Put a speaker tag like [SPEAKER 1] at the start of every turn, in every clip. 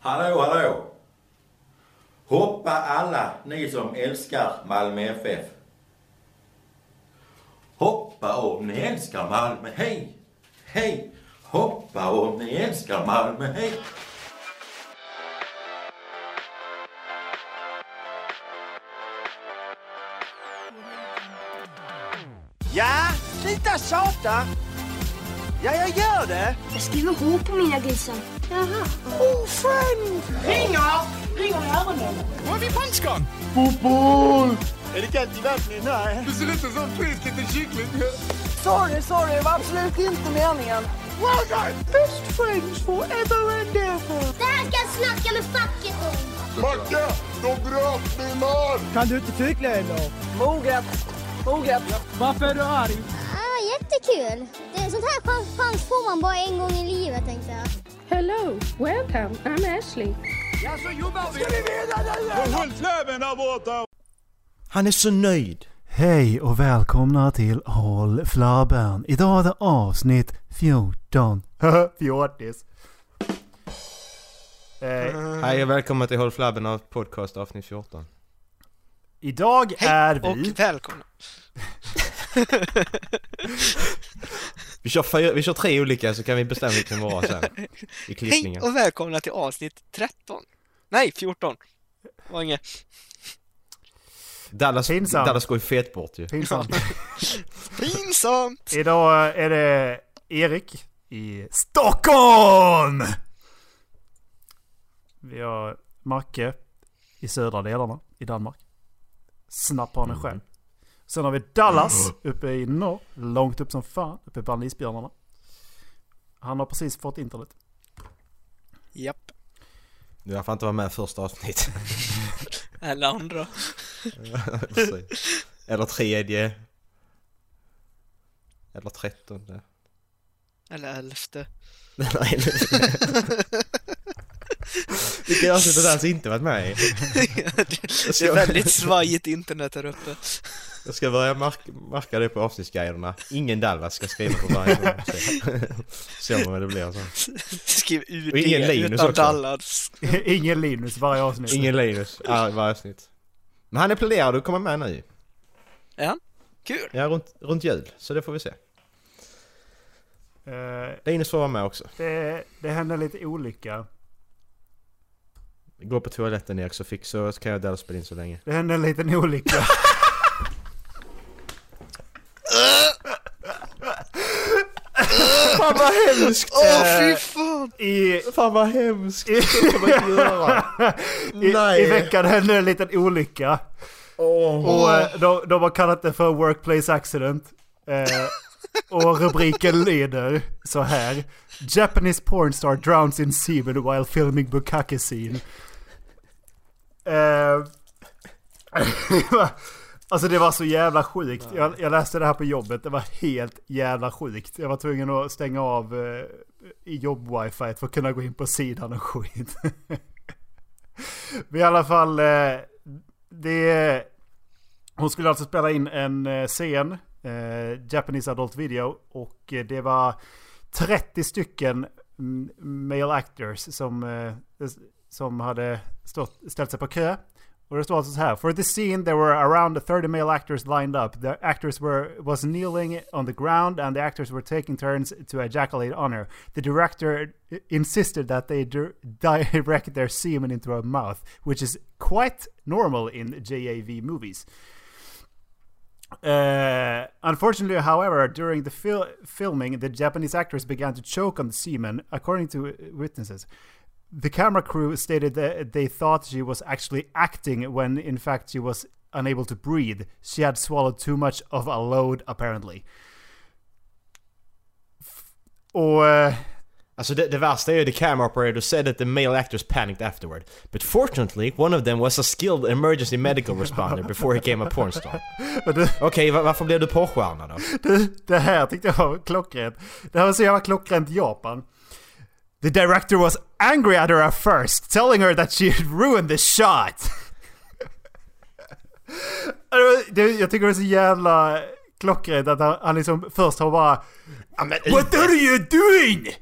[SPEAKER 1] Hallå, hallå! Hoppa alla ni som älskar Malmö FF. Hoppa om ni älskar Malmö, hej! Hej! Hoppa om ni älskar Malmö, hej!
[SPEAKER 2] Ja, sluta tjata! Ja, jag gör det!
[SPEAKER 3] Jag skriver H på mina grisar. Jaha.
[SPEAKER 2] Ofriend!
[SPEAKER 4] Ringer! Ringer i öronen.
[SPEAKER 5] Var är vi punchgun?
[SPEAKER 2] Är det kallt i vattnet? Nej.
[SPEAKER 5] Du ser ut som en frisk liten kyckling.
[SPEAKER 2] Sorry, sorry, det var absolut inte meningen. Well done! Best friends forever and ever!
[SPEAKER 3] Det här ska jag snacka med facket om.
[SPEAKER 5] Macke, de bröt min man!
[SPEAKER 6] Kan du inte cykla eller?
[SPEAKER 2] Moget, moget.
[SPEAKER 6] Varför är du arg?
[SPEAKER 3] Ah, jättekul. Det, sånt här chans, chans får man bara en gång i livet, tänkte jag.
[SPEAKER 7] Hello, welcome. I'm Ashley.
[SPEAKER 2] Han är så nöjd.
[SPEAKER 8] Hej och välkomna till Håll Flabben. Idag är det avsnitt 14. Fjortis. Eh,
[SPEAKER 9] Hej och välkomna till Håll Flabben av podcast avsnitt 14
[SPEAKER 8] idag är
[SPEAKER 10] och
[SPEAKER 8] vi...
[SPEAKER 10] välkomna.
[SPEAKER 9] Vi kör, fyra, vi kör tre olika så kan vi bestämma vilken vara sen I
[SPEAKER 10] Hej
[SPEAKER 9] klippningen
[SPEAKER 10] och välkomna till avsnitt 13. Nej, 14. Var inget.
[SPEAKER 9] Dallas,
[SPEAKER 8] Pinsamt.
[SPEAKER 9] Dallas går ju fet bort ju
[SPEAKER 8] Pinsamt.
[SPEAKER 10] Pinsamt!
[SPEAKER 8] Idag är det Erik i Stockholm! Vi har Macke i södra delarna i Danmark. Snappar han är själv. Sen har vi Dallas uppe i norr, långt upp som fan, uppe bland isbjörnarna. Han har precis fått internet.
[SPEAKER 10] Japp.
[SPEAKER 9] Du får inte vara med i första avsnitt
[SPEAKER 10] Eller andra.
[SPEAKER 9] Precis. Eller tredje Eller trettonde
[SPEAKER 10] Eller elfte.
[SPEAKER 9] Nej Vilket avsnitt har Dallas inte varit med i?
[SPEAKER 10] det är väldigt svajigt internet här uppe.
[SPEAKER 9] Jag ska börja mark- marka det på avsnittsguiderna Ingen Dallas ska skriva på varje Ser man vad det blir sen
[SPEAKER 10] Skriv UD
[SPEAKER 9] Och ingen Linus
[SPEAKER 10] utan
[SPEAKER 9] också.
[SPEAKER 10] Dallas.
[SPEAKER 8] Ingen Linus varje avsnitt.
[SPEAKER 9] Ingen Linus ah, i varje avsnitt. Men han applåderar att komma med nu.
[SPEAKER 10] Ja, kul.
[SPEAKER 9] Ja, runt, runt jul. Så det får vi se.
[SPEAKER 8] Eh,
[SPEAKER 9] Linus får vara med också.
[SPEAKER 8] det, det hände lite olycka.
[SPEAKER 9] Gå på toaletten Erik så, fix, så kan jag dela spela in så länge.
[SPEAKER 8] Det hände en liten olycka.
[SPEAKER 9] Fan vad hemskt!
[SPEAKER 10] Åh, fy fan!
[SPEAKER 8] I,
[SPEAKER 9] Fan vad hemskt! Det kan man inte göra.
[SPEAKER 8] i,
[SPEAKER 9] Nej.
[SPEAKER 8] I veckan hände en liten olycka. Och eh, de, de har kallat det för Workplace Accident. Eh, och rubriken lyder så här. Japanese pornstar drowns in semen while filming bukkake scene. Eh, alltså det var så jävla sjukt. Jag, jag läste det här på jobbet. Det var helt jävla sjukt. Jag var tvungen att stänga av eh, i jobb-wifi för att kunna gå in på sidan och skit. Men i alla fall, eh, det... Hon skulle alltså spela in en eh, scen, eh, Japanese Adult Video, och eh, det var 30 stycken mm, male actors som, eh, som hade stått, ställt sig på kö. Och det står alltså så här. For this scene there were around 30 male actors lined up. The actors were was kneeling on the ground and the actors were taking turns to ejaculate on her. The director eh, insisted that they dir- direct their semen into her mouth, which is quite normal in JAV movies. Uh, unfortunately, however, during the fil- filming, the Japanese actors began to choke on the semen, according to uh, witnesses. The camera crew stated that they thought she was actually acting when, in fact, she was unable to breathe. She had swallowed too much of a load, apparently. F- Och... eh,
[SPEAKER 9] Alltså det, det värsta är ju the camera operator said that the male actors panicked afterward. But fortunately one of them was a skilled emergency medical responder before he came a pornstar. Okej, va- varför blev du porrstjärna då?
[SPEAKER 8] Det här tyckte jag var klockrent. Det här var så jävla klockrent Japan. The director was angry at her at first, telling her that she had ruined the shot. Alltså, det- jag tycker det är så jävla klockrent att han, han liksom först har bara...
[SPEAKER 9] Ja, men-
[SPEAKER 8] What are you doing?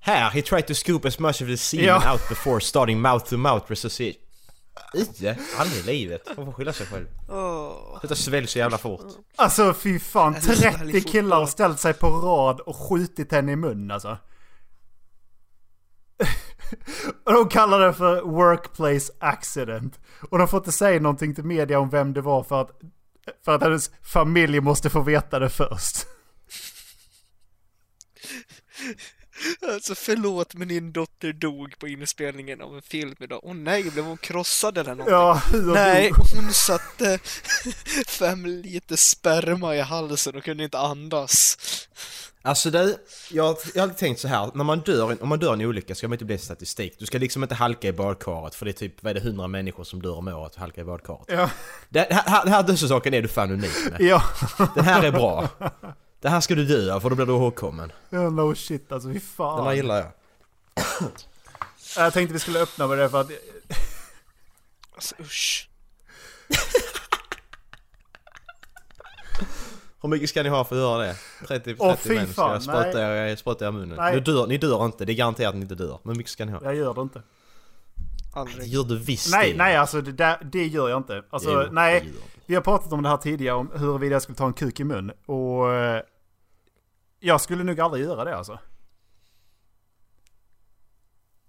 [SPEAKER 9] Här, he tried to scoop as much of the semen
[SPEAKER 8] Ja.
[SPEAKER 9] out before starting mouth to mouth resuscitation. Ije, aldrig i livet. Man får skylla sig själv. Sluta svälj så jävla fort.
[SPEAKER 8] Alltså fy fan,
[SPEAKER 11] det är så härlig
[SPEAKER 8] 30 killar har ställt sig på rad och skjutit henne i munnen alltså. och de kallar det för workplace accident. Och de får inte säga någonting till media om vem det var för att, för att hennes familj måste få veta det först.
[SPEAKER 11] Alltså förlåt men din dotter dog på inspelningen av en film idag. Åh nej, blev hon krossad eller något?
[SPEAKER 8] Ja, hur
[SPEAKER 11] Nej,
[SPEAKER 8] dog-
[SPEAKER 11] hon satte fem liter sperma i halsen och kunde inte andas.
[SPEAKER 9] Alltså du, jag, jag har tänkt så här. När man dör, om man dör i en olycka ska man inte bli statistik. Du ska liksom inte halka i badkaret för det är typ, vad är det, 100 människor som dör om året och halkar i badkaret.
[SPEAKER 8] Ja.
[SPEAKER 9] Det, här, här- den här dödsorsaken är du fan unik med.
[SPEAKER 8] Ja,
[SPEAKER 9] Den här är bra. Den här ska du dö av för då blir du ihågkommen.
[SPEAKER 8] Ja, no shit alltså fy
[SPEAKER 9] Den här
[SPEAKER 8] fan.
[SPEAKER 9] gillar jag.
[SPEAKER 8] Jag tänkte vi skulle öppna med det för att
[SPEAKER 11] Alltså usch.
[SPEAKER 9] Hur mycket ska ni ha för att göra det? 30, 30
[SPEAKER 8] Åh, fy
[SPEAKER 9] män ska
[SPEAKER 8] fan,
[SPEAKER 9] jag spruta er, jag sprutar er i munnen.
[SPEAKER 8] Nej.
[SPEAKER 9] Ni dör, ni dör inte, det är garanterat att ni inte dör. Men hur mycket ska ni ha?
[SPEAKER 8] jag gör det inte.
[SPEAKER 9] Det
[SPEAKER 11] Aldrig.
[SPEAKER 9] gör du visst
[SPEAKER 8] Nej,
[SPEAKER 9] det.
[SPEAKER 8] nej alltså det, där, det gör jag inte. Alltså,
[SPEAKER 9] Jo, det gör
[SPEAKER 8] nej,
[SPEAKER 9] du.
[SPEAKER 8] vi har pratat om det här tidigare, om huruvida jag skulle ta en kuk i mun. Och eh, jag skulle nog aldrig göra det alltså.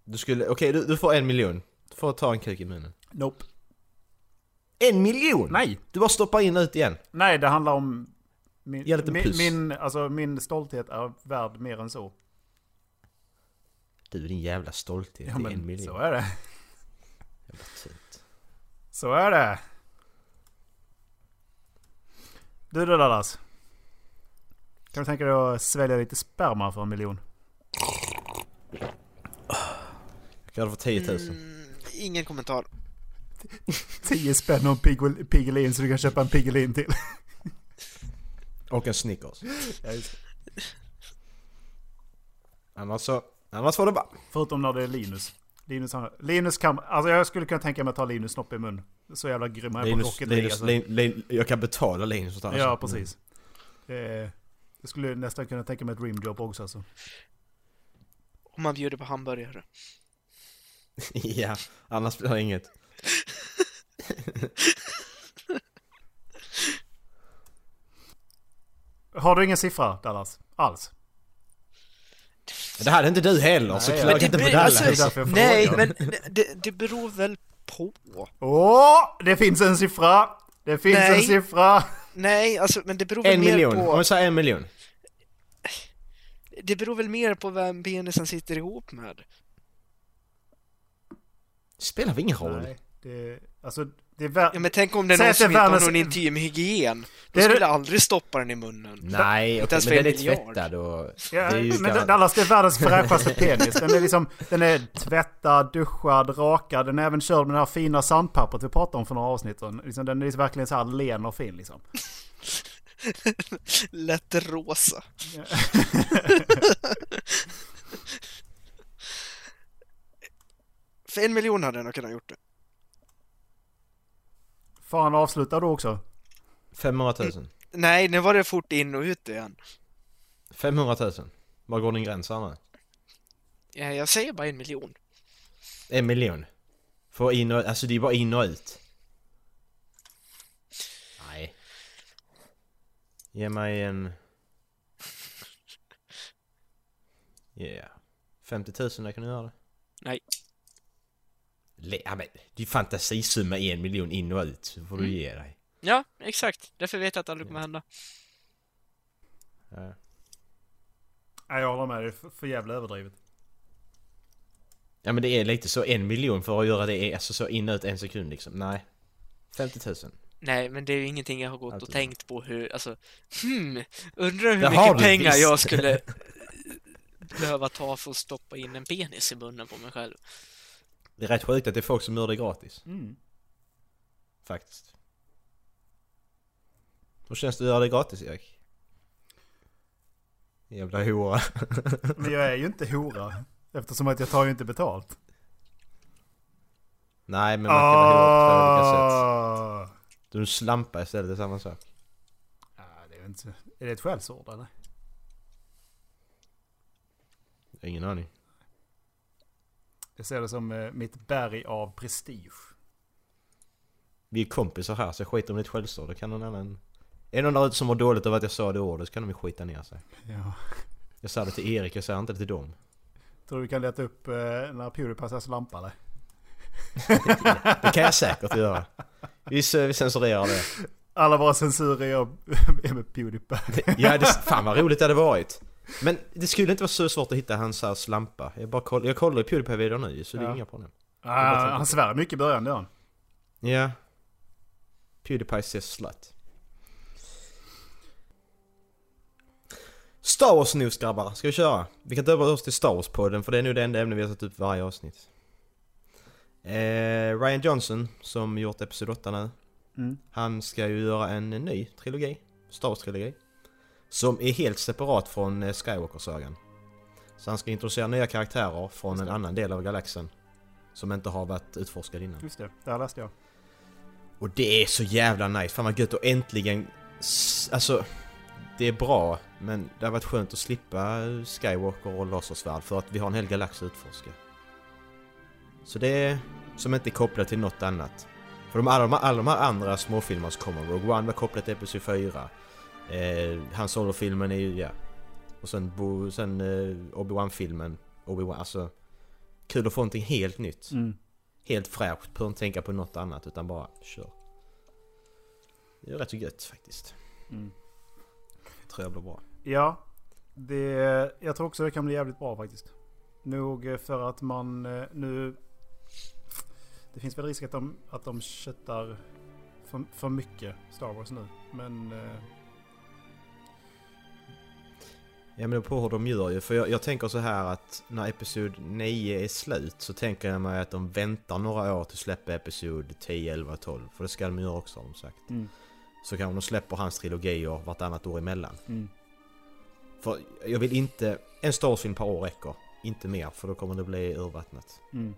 [SPEAKER 9] Du skulle, okej du, du får en miljon. Du får ta en kuk i munnen.
[SPEAKER 8] Nope.
[SPEAKER 9] En miljon?
[SPEAKER 8] Nej.
[SPEAKER 9] Du bara stoppar in och ut igen.
[SPEAKER 8] Nej, det handlar om... Min,
[SPEAKER 9] Ge en liten
[SPEAKER 8] min,
[SPEAKER 9] puss.
[SPEAKER 8] min, alltså, min stolthet är värd mer än så.
[SPEAKER 9] Du din jävla stolthet,
[SPEAKER 8] Ja,
[SPEAKER 9] det är en
[SPEAKER 8] men,
[SPEAKER 9] miljon.
[SPEAKER 8] så är det.
[SPEAKER 9] Jävla tunt.
[SPEAKER 8] Så är det. Du då Dallas? Kan du tänka dig att svälja lite sperma för en miljon?
[SPEAKER 9] Jag kan få 10 000.
[SPEAKER 11] Alltså, Ingen kommentar.
[SPEAKER 8] 10 spänn och en Pigol- Piggelin så du kan köpa en Piggelin till.
[SPEAKER 9] Och en Snickers. Annars så, annars får du bara...
[SPEAKER 8] Förutom när det är Linus. Linus, han, Linus kan... Alltså jag skulle kunna tänka mig att ta Linus snopp i mun. Så jävla grym han är på
[SPEAKER 9] Linus,
[SPEAKER 8] Rocket League.
[SPEAKER 9] Linus,
[SPEAKER 8] Alltså.
[SPEAKER 9] Lin, Lin, jag kan betala Linus och ta
[SPEAKER 8] Ja,
[SPEAKER 9] hans-
[SPEAKER 8] precis. Eh, jag skulle nästan kunna tänka mig ett rimjobb också alltså.
[SPEAKER 11] Om man bjuder på hamburgare.
[SPEAKER 9] ja, annars blir det inget.
[SPEAKER 8] Har du ingen siffra Dallas? Alls?
[SPEAKER 9] Det här är inte du heller, så
[SPEAKER 8] Nej,
[SPEAKER 9] klaga
[SPEAKER 8] men det
[SPEAKER 9] inte på
[SPEAKER 8] blir-
[SPEAKER 9] Dallas.
[SPEAKER 8] alltså- därför jag frågar.
[SPEAKER 11] nej, men det, det beror väl på.
[SPEAKER 8] Åh! Det finns en siffra! Det finns
[SPEAKER 11] Nej.
[SPEAKER 8] en siffra!
[SPEAKER 11] Nej, alltså men det beror väl
[SPEAKER 9] En
[SPEAKER 11] mer
[SPEAKER 9] miljon, om
[SPEAKER 11] på...
[SPEAKER 9] vi säger en miljon.
[SPEAKER 11] Det beror väl mer på vem penisen sitter ihop med.
[SPEAKER 9] Det spelar väl ingen roll?
[SPEAKER 8] Nej, det... Alltså det är värt...
[SPEAKER 11] Ja men tänk om det är
[SPEAKER 8] Säg
[SPEAKER 11] någon
[SPEAKER 8] att
[SPEAKER 11] som
[SPEAKER 8] det är
[SPEAKER 11] inte har
[SPEAKER 8] världens-
[SPEAKER 11] någon intim hygien. Då
[SPEAKER 8] Det är-
[SPEAKER 11] skulle jag aldrig stoppa den i munnen.
[SPEAKER 9] Nej,
[SPEAKER 11] Inte
[SPEAKER 9] okej,
[SPEAKER 11] ens
[SPEAKER 9] men den
[SPEAKER 11] för
[SPEAKER 9] är
[SPEAKER 11] en miljard.
[SPEAKER 9] tvättad och...
[SPEAKER 8] Ja,
[SPEAKER 9] det är ju
[SPEAKER 8] men
[SPEAKER 9] garan-
[SPEAKER 8] Dallas, det är världens fräschaste penis. Den är liksom, den är tvättad, duschad, rakad. Den är även körd med det här fina sandpappret vi pratade om för några avsnitt sedan. Liksom, den är liksom verkligen så här len och fin liksom.
[SPEAKER 11] Lätt rosa. För en miljon hade jag nog kunnat gjort det.
[SPEAKER 8] Fan, avslutar du också?
[SPEAKER 9] 500 000.
[SPEAKER 11] Nej, nu var det fort in och ut igen.
[SPEAKER 9] 500 000. Var går din gräns här nu?
[SPEAKER 11] Ja, Jag säger bara en miljon.
[SPEAKER 9] En miljon. Få in och... Alltså det är bara in och ut. Nej. Ge mig en... Yeah. 50 000 jag kan göra det.
[SPEAKER 11] Nej.
[SPEAKER 9] Le- ja, men, det är ju fantasisumma en miljon in och ut. Så får du ge dig.
[SPEAKER 11] Ja, exakt. Därför vet jag att det aldrig kommer hända.
[SPEAKER 9] Ja.
[SPEAKER 8] Nej, jag håller med. Det är för- för jävla överdrivet.
[SPEAKER 9] Ja men det är lite så, en miljon för att göra det, är- alltså så in och ut en sekund liksom. Nej. 50 000.
[SPEAKER 11] Nej, men det är ju ingenting jag har gått och
[SPEAKER 9] Alltid.
[SPEAKER 11] tänkt på hur, alltså, hmm, undrar hur
[SPEAKER 9] Det har
[SPEAKER 11] mycket
[SPEAKER 9] du
[SPEAKER 11] pengar
[SPEAKER 9] visst.
[SPEAKER 11] jag skulle behöva ta för att stoppa in en penis i munnen på mig själv.
[SPEAKER 9] Det är rätt sjukt att det är folk som gör det gratis.
[SPEAKER 8] Mm.
[SPEAKER 9] Faktiskt. Hur känns det att göra det gratis Erik? Jävla hora.
[SPEAKER 8] Men jag är ju inte hora. Eftersom att jag tar ju inte betalt.
[SPEAKER 9] Nej men man kan vara hora på två olika
[SPEAKER 8] Ah.
[SPEAKER 9] sätt. Du slampa istället, det är samma sak.
[SPEAKER 8] Ja, Ah. det är, ju inte, är det ett skällsord eller?
[SPEAKER 9] Ingen aning.
[SPEAKER 8] Jag ser det som eh, mitt berg av prestige.
[SPEAKER 9] Vi är kompisar här så jag skiter om ditt självstår. Då kan någon annan... Är det någon där ute som har dåligt över att jag sa det ordet så kan de ju skita ner sig.
[SPEAKER 8] Ja.
[SPEAKER 9] Jag sa det till Erik, jag sa inte det till dem.
[SPEAKER 8] Tror du kan leta upp eh, när Pewdiepie har lampa eller?
[SPEAKER 9] Det kan jag säkert göra. Vi, s- vi censurerar det.
[SPEAKER 8] Alla våra censurer är är med Pewdiepie.
[SPEAKER 9] Ja, det, fan vad roligt det hade varit. Men det skulle inte vara så svårt att hitta hans här slampa. Jag, bara koll, jag kollar ju Pewdiepie-videon nu så det är
[SPEAKER 8] Ja.
[SPEAKER 9] inga problem.
[SPEAKER 8] Ah, han svär mycket i början, det gör han.
[SPEAKER 9] Ja. Pewdiepie says slut. Star Wars news grabbar, ska vi köra? Vi kan inte över oss till Star Wars-podden för det är nu det enda ämne vi har satt upp varje avsnitt. Eh, Ryan Johnson, som gjort Episod 8 nu,
[SPEAKER 8] Mm.
[SPEAKER 9] han ska ju göra en ny trilogi, Star Wars-trilogi. Som är helt separat från eh, Skywalker-sagan. Så han ska introducera nya karaktärer från en annan del av galaxen. Som inte har varit utforskad innan.
[SPEAKER 8] Just det, där läste jag.
[SPEAKER 9] Och det är så jävla nice, fan vad gött och äntligen... s- Alltså, det är bra, men det har varit skönt att slippa Skywalker och lasersvärd för att vi har en hel galax att utforska. Så det är som inte är kopplat till något annat. För de, alla, de, alla de här andra småfilmerna som kommer, Rogue One var kopplat till Episod 4, eh, Han Solo-filmen är ju, ja. Och sen, Bo- sen eh, Obi-Wan-filmen, Obi-Wan, alltså... Kul att få någonting helt nytt
[SPEAKER 8] Mm.
[SPEAKER 9] helt fräscht. Behöver inte tänka på något annat utan bara kör. Det är rätt så gött faktiskt.
[SPEAKER 8] Mm.
[SPEAKER 9] Jag tror jag blir bra.
[SPEAKER 8] Ja, det, jag tror också det kan bli jävligt bra faktiskt. Nog eh, för att man eh, nu... Det finns väl risk att de, att de köttar för, för mycket Star Wars nu. Men... eh,
[SPEAKER 9] Ja men det beror på hur de gör ju. För jag, jag tänker så här att när Episod 9 är slut så tänker jag mig att de väntar några år till att släppa Episod 10, 11, 12. För det ska de göra också har de sagt.
[SPEAKER 8] Mm.
[SPEAKER 9] Så kanske de släpper hans trilogier vartannat år emellan.
[SPEAKER 8] Mm.
[SPEAKER 9] För jag vill inte... En Star Wars-film per år räcker. Inte mer för då kommer det bli urvattnat.
[SPEAKER 8] Mm.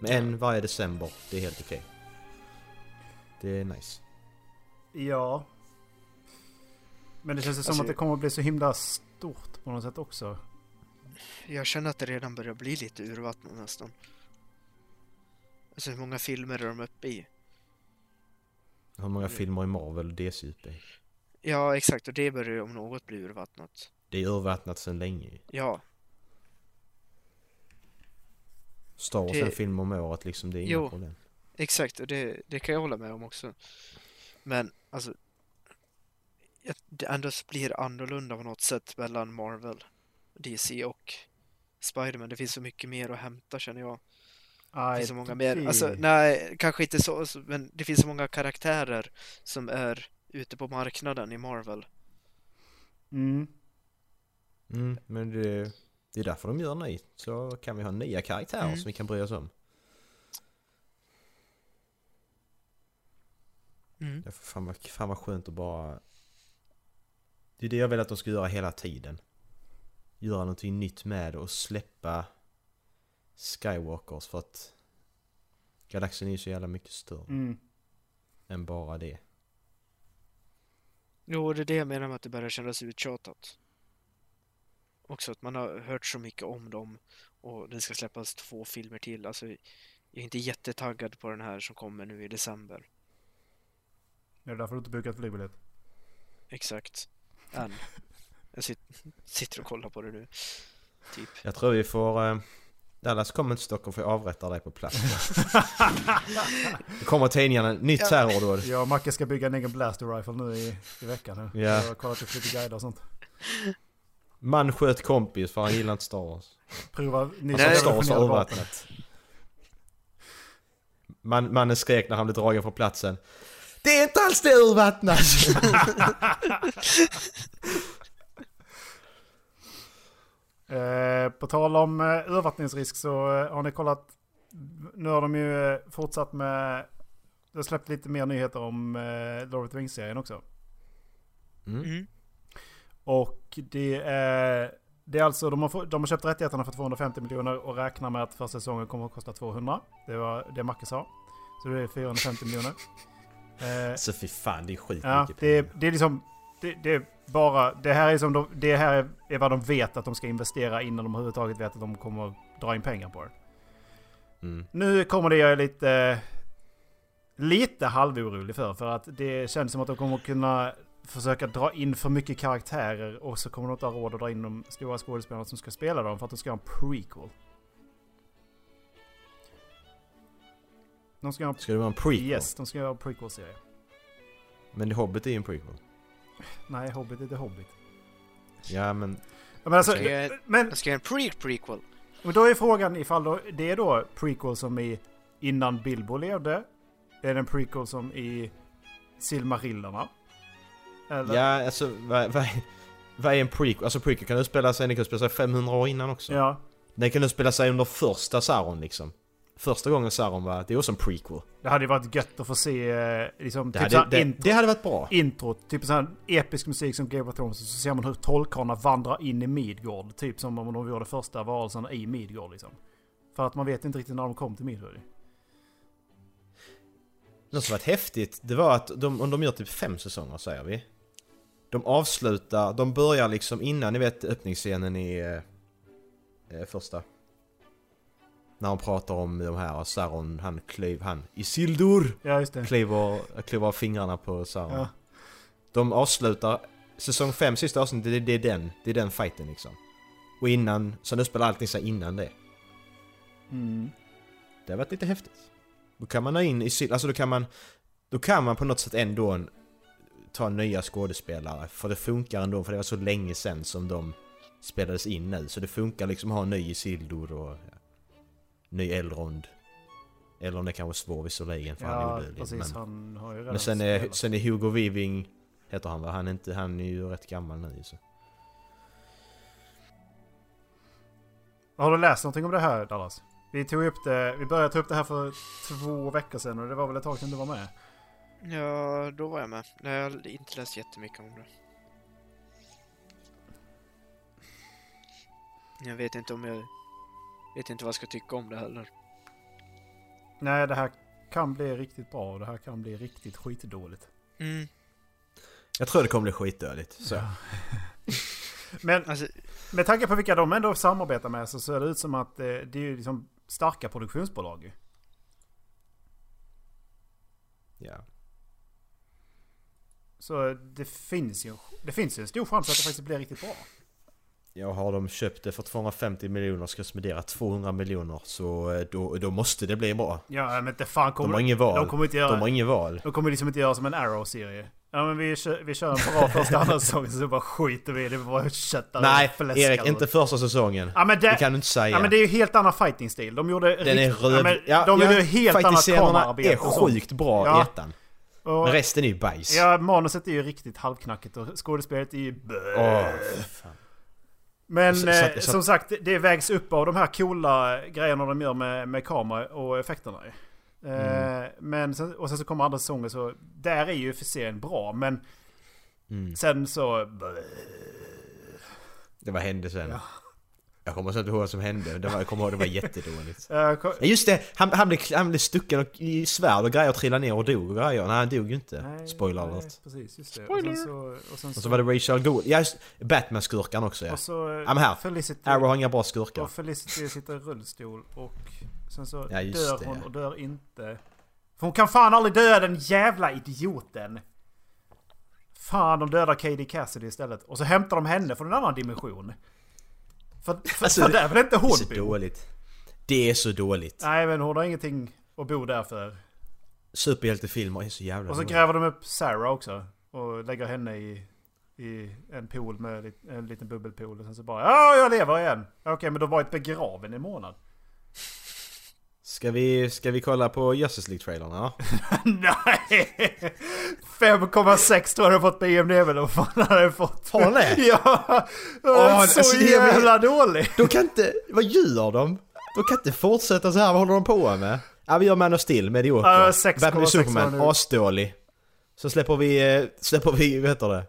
[SPEAKER 9] Men en varje december, det är helt okej. Det är nice.
[SPEAKER 8] Ja. Men det känns ju som
[SPEAKER 10] Alltså-
[SPEAKER 8] att det kommer att bli så himla stort på något sätt också.
[SPEAKER 10] Jag känner att det redan börjar bli lite urvattnat nästan. Alltså hur många filmer är de uppe i?
[SPEAKER 9] Hur många
[SPEAKER 10] Mm.
[SPEAKER 9] filmer i Marvel och DC uppe i?
[SPEAKER 10] Ja, exakt. Och det börjar ju om något bli urvattnat.
[SPEAKER 9] Det är urvattnat sedan länge ju.
[SPEAKER 10] Ja,
[SPEAKER 9] Star Wars
[SPEAKER 10] Det-
[SPEAKER 9] en film om året liksom, det är inga
[SPEAKER 10] Jo.
[SPEAKER 9] problem.
[SPEAKER 10] exakt. Och det, det kan jag hålla med om också. Men alltså... jag- Det ändå blir annorlunda på något sätt mellan Marvel, DC och Spiderman. Det finns så mycket mer att hämta känner jag. Det
[SPEAKER 8] Aj,
[SPEAKER 10] finns så många mer.
[SPEAKER 8] det-
[SPEAKER 10] Alltså, nej, kanske inte så, alltså, men det finns så många karaktärer som är ute på marknaden i Marvel.
[SPEAKER 8] Mm.
[SPEAKER 9] Mm, men det, det är därför de gör ny. Så kan vi ha nya karaktärer som vi kan bry oss om.
[SPEAKER 10] Mm.
[SPEAKER 9] Ja, för fan, vad, fan vad skönt att bara... Det är det jag vill att de ska göra hela tiden. Göra någonting nytt med och släppa Skywalkers för att galaxen är ju så jävla mycket större
[SPEAKER 8] Mm.
[SPEAKER 9] än bara det.
[SPEAKER 10] Jo, det är det jag menar med att det börjar kännas uttjatat. Också att man har hört så mycket om dem och det ska släppas två filmer till. Alltså, jag är inte jättetaggad på den här som kommer nu i december.
[SPEAKER 8] Är det därför du inte bokat flygbiljett?
[SPEAKER 10] Exakt. Än. Jag sit, sitter och kollar på det nu. Typ.
[SPEAKER 9] Jag tror vi får... Eh, Dallas kommer inte till Stockholm för jag avrättar dig på plats. det kommer tidningarna, nytt terrordåd.
[SPEAKER 8] Jag och Macke ska bygga en egen blaster rifle nu i, i veckan. Nu.
[SPEAKER 9] Ja.
[SPEAKER 8] Jag har kollat upp lite guider och sånt.
[SPEAKER 9] Man sköt kompis för han gillar inte Star Wars.
[SPEAKER 8] Prova
[SPEAKER 10] Nej.
[SPEAKER 8] nytt
[SPEAKER 9] Star Wars har
[SPEAKER 8] revolutionerande vapen.
[SPEAKER 9] avvattnat. Man, mannen skrek när han blev dragen från platsen. Det är inte alls det urvattnat!
[SPEAKER 8] Eh, på tal om eh, övervattningsrisk så eh, har ni kollat. Nu har de ju eh, fortsatt med. De har släppt lite mer nyheter om eh, Lord of the Rings-serien också.
[SPEAKER 10] Mm.
[SPEAKER 8] Och det är, det är alltså, de har, få- de har köpt rättigheterna för 250 miljoner och räknar med att första säsongen kommer att kosta 200. Det var det Macke sa. Så det är 450 miljoner. Eh,
[SPEAKER 9] Så fy fan, det är skitmycket
[SPEAKER 8] ja, det, är- det är liksom, det, det är bara, det här är som de, det här är- är vad de vet att de ska investera innan de överhuvudtaget vet att de kommer att dra in pengar på det.
[SPEAKER 9] Mm.
[SPEAKER 8] Nu kommer det jag är lite... Lite halvorolig för. För att det känns som att de kommer kunna försöka dra in för mycket karaktärer. Och så kommer de inte ha råd att dra in de stora skådespelarna som ska spela dem. För att de ska ha en prequel. De ska ha
[SPEAKER 9] Ska det vara en prequel?
[SPEAKER 8] en, yes, de ska ha en prequel-serie.
[SPEAKER 9] Men Hobbit är ju en prequel.
[SPEAKER 8] Nej, Hobbit är The Hobbit.
[SPEAKER 9] Ja, men...
[SPEAKER 8] Ja, Men, alltså,
[SPEAKER 10] Ska jag-
[SPEAKER 8] men
[SPEAKER 10] Jag ska göra en pre-prequel.
[SPEAKER 8] Men då är frågan ifall då, det är då prequel som i innan Bilbo levde? Är det en prequel som i Silmarillerna? Eller?
[SPEAKER 9] Ja, alltså vad, vad, vad är en prequel? Alltså prequel kan utspela sig, den kan utspela sig 500 år innan också.
[SPEAKER 8] Ja.
[SPEAKER 9] Den kan utspela sig under första Sauron liksom. Första gången Sauron var, det är också en prequel.
[SPEAKER 8] Det hade ju varit gött att få se eh, liksom,
[SPEAKER 9] Det
[SPEAKER 8] typ så
[SPEAKER 9] hade,
[SPEAKER 8] här
[SPEAKER 9] det,
[SPEAKER 8] intro,
[SPEAKER 9] det hade varit bra.
[SPEAKER 8] intro, typ sån här episk musik som Game of Thrones och så ser man hur trollkarlarna vandrar in i Midgård. Typ som om de vore de första varelserna i Midgård liksom. För att man vet inte riktigt när de kom till Midgård.
[SPEAKER 9] Något som varit häftigt, det var att de, om de gör typ fem säsonger säger vi. De avslutar, de börjar liksom innan, ni vet öppningsscenen i eh, eh, första. När han pratar om de här, Sauron, han klöv, han Isildur
[SPEAKER 8] Ja, just det.
[SPEAKER 9] kliver, kliver av fingrarna på Sauron.
[SPEAKER 8] Ja.
[SPEAKER 9] De avslutar säsong 5, sista avsnittet, det, det är den, det är den fighten liksom. Och innan, så nu spelar allting sig innan det.
[SPEAKER 8] Mm.
[SPEAKER 9] Det har varit lite häftigt. Då kan man ha in i sill- alltså då kan man, då kan man på något sätt ändå en, ta nya skådespelare. För det funkar ändå, för det var så länge sedan som de spelades in nu. Så det funkar liksom att ha en ny Isildur och ja, ny Elrond. Eller om det kanske var svår visserligen för han är
[SPEAKER 8] Ja,
[SPEAKER 9] odödlig.
[SPEAKER 8] precis.
[SPEAKER 9] men-
[SPEAKER 8] Han har ju redan
[SPEAKER 9] men sen är,
[SPEAKER 8] spelat.
[SPEAKER 9] sen är Hugo Weaving, heter han va? Han är, inte, han är ju rätt gammal nu så.
[SPEAKER 8] Har du läst någonting om det här Dallas? Vi tog upp det, vi började ta upp det här för två veckor sedan och det var väl ett tag sedan du var med.
[SPEAKER 10] Ja, då var jag med. Nej, jag har inte läst jättemycket om det. Jag vet inte om jag... Vet inte vad jag ska tycka om det heller.
[SPEAKER 8] Nej, det här kan bli riktigt bra och det här kan bli riktigt skitdåligt.
[SPEAKER 10] Mm,
[SPEAKER 9] Jag tror det kommer bli skitdödligt. Så.
[SPEAKER 8] Men
[SPEAKER 10] alltså,
[SPEAKER 8] med tanke på vilka de ändå samarbetar med så ser det ut som att eh, det är ju liksom starka produktionsbolag ju.
[SPEAKER 9] Ja.
[SPEAKER 8] Så det finns ju, det finns ju en stor chans att det faktiskt blir riktigt bra.
[SPEAKER 9] ja, har de köpt det för 250 miljoner och ska spendera 200 miljoner så eh, då, då måste det bli bra.
[SPEAKER 8] Ja, men inte fan kommer
[SPEAKER 9] De har inget val.
[SPEAKER 8] De kommer inte göra...
[SPEAKER 9] De har inget val.
[SPEAKER 8] De kommer liksom inte göra som en Arrow-serie. Ja men vi kör, vi kör en bra första andra säsong så bara skiter vi i det. Vi bara köttar och
[SPEAKER 9] Nej,
[SPEAKER 8] fläskar
[SPEAKER 9] Erik,
[SPEAKER 8] och-
[SPEAKER 9] inte första säsongen.
[SPEAKER 8] alltså. Ja, men det-
[SPEAKER 9] det kan du inte säga.
[SPEAKER 8] Ja men det är ju helt annan fighting-stil. De gjorde...
[SPEAKER 9] Den är
[SPEAKER 8] rikt-
[SPEAKER 9] röd.
[SPEAKER 8] Ja, men de gjorde helt annat
[SPEAKER 9] fighting-scenerna
[SPEAKER 8] kamerarbete
[SPEAKER 9] är
[SPEAKER 8] och sånt.
[SPEAKER 9] sjukt bra
[SPEAKER 8] Ja.
[SPEAKER 9] i ettan.
[SPEAKER 8] Och,
[SPEAKER 9] Men resten är ju bajs.
[SPEAKER 8] ja, manuset är ju riktigt halvknackigt och skådespelet är ju... bö.
[SPEAKER 9] Åh, fy fan.
[SPEAKER 8] Men
[SPEAKER 9] så-
[SPEAKER 8] eh,
[SPEAKER 9] så- så-
[SPEAKER 8] som sagt, det vägs upp av de här coola grejerna de gör med, med kamera och effekterna. ju. Eh,
[SPEAKER 9] Mm.
[SPEAKER 8] Men sen, och sen så kommer andra säsonger så... Där är ju serien bra men
[SPEAKER 9] Mm.
[SPEAKER 8] sen så... eh, bö.
[SPEAKER 9] Det var hände sen. Jag kommer inte ihåg vad som hände. Det var, jag kommer ihåg det var jättedåligt.
[SPEAKER 8] Eh, ko-
[SPEAKER 9] Ja, Just det! Han, han, blev, han blev stucken och, i svärd och grejer och trillade ner och dog och grejer. Nej, han dog ju inte.
[SPEAKER 8] nej,
[SPEAKER 9] Spoiler
[SPEAKER 8] nej,
[SPEAKER 9] alert.
[SPEAKER 8] Precis, just det. Och sen så... Och sen så,
[SPEAKER 9] Och så var det Rachel Gould. Ja, just Batman-skurkan också ja.
[SPEAKER 8] och så eh,
[SPEAKER 9] Ja, men här.
[SPEAKER 8] Felicity-
[SPEAKER 9] Arrow har inga bra skurkar.
[SPEAKER 8] Och Felicity sitter i rullstol och sen så
[SPEAKER 9] Ja, just
[SPEAKER 8] dör
[SPEAKER 9] det,
[SPEAKER 8] hon
[SPEAKER 9] ja.
[SPEAKER 8] och dör inte. För hon kan fan aldrig dö den jävla idioten! Fan, de dödar Katie Cassidy istället. Och så hämtar de henne från en annan dimension. För, för,
[SPEAKER 9] Alltså,
[SPEAKER 8] för
[SPEAKER 9] det-
[SPEAKER 8] där vill inte
[SPEAKER 9] Det
[SPEAKER 8] hon
[SPEAKER 9] är så
[SPEAKER 8] bo.
[SPEAKER 9] dåligt. Det är så dåligt.
[SPEAKER 8] Nej men hon har ingenting att bo där för.
[SPEAKER 9] Superhjältefilmer är så jävla
[SPEAKER 8] Och så
[SPEAKER 9] dåliga.
[SPEAKER 8] gräver de upp Sarah också. Och lägger henne i, i en pool med lit- en liten bubbelpool. Och sen så bara ja, jag lever igen. Okej, men då har varit begraven i en månad.
[SPEAKER 9] Ska vi, ska vi kolla på Justice League-trailern?
[SPEAKER 8] Nej! 5,6 tror jag den har fått E på IMDB. Vad fan har den fått?
[SPEAKER 9] Har den det?
[SPEAKER 8] Ja!
[SPEAKER 9] Åh,
[SPEAKER 8] så
[SPEAKER 9] alltså, det är väl-
[SPEAKER 8] jävla dålig!
[SPEAKER 9] Då kan inte... Vad gör de? De kan inte fortsätta så här. Vad håller de på med? Ja, vi gör Man of Steel,
[SPEAKER 8] Ja,
[SPEAKER 9] medioker.
[SPEAKER 8] 6,6
[SPEAKER 9] Batman och
[SPEAKER 8] var
[SPEAKER 9] Superman,
[SPEAKER 8] det nu.
[SPEAKER 9] asdålig. Så släpper vi... eh, Släpper vi... Vad heter det?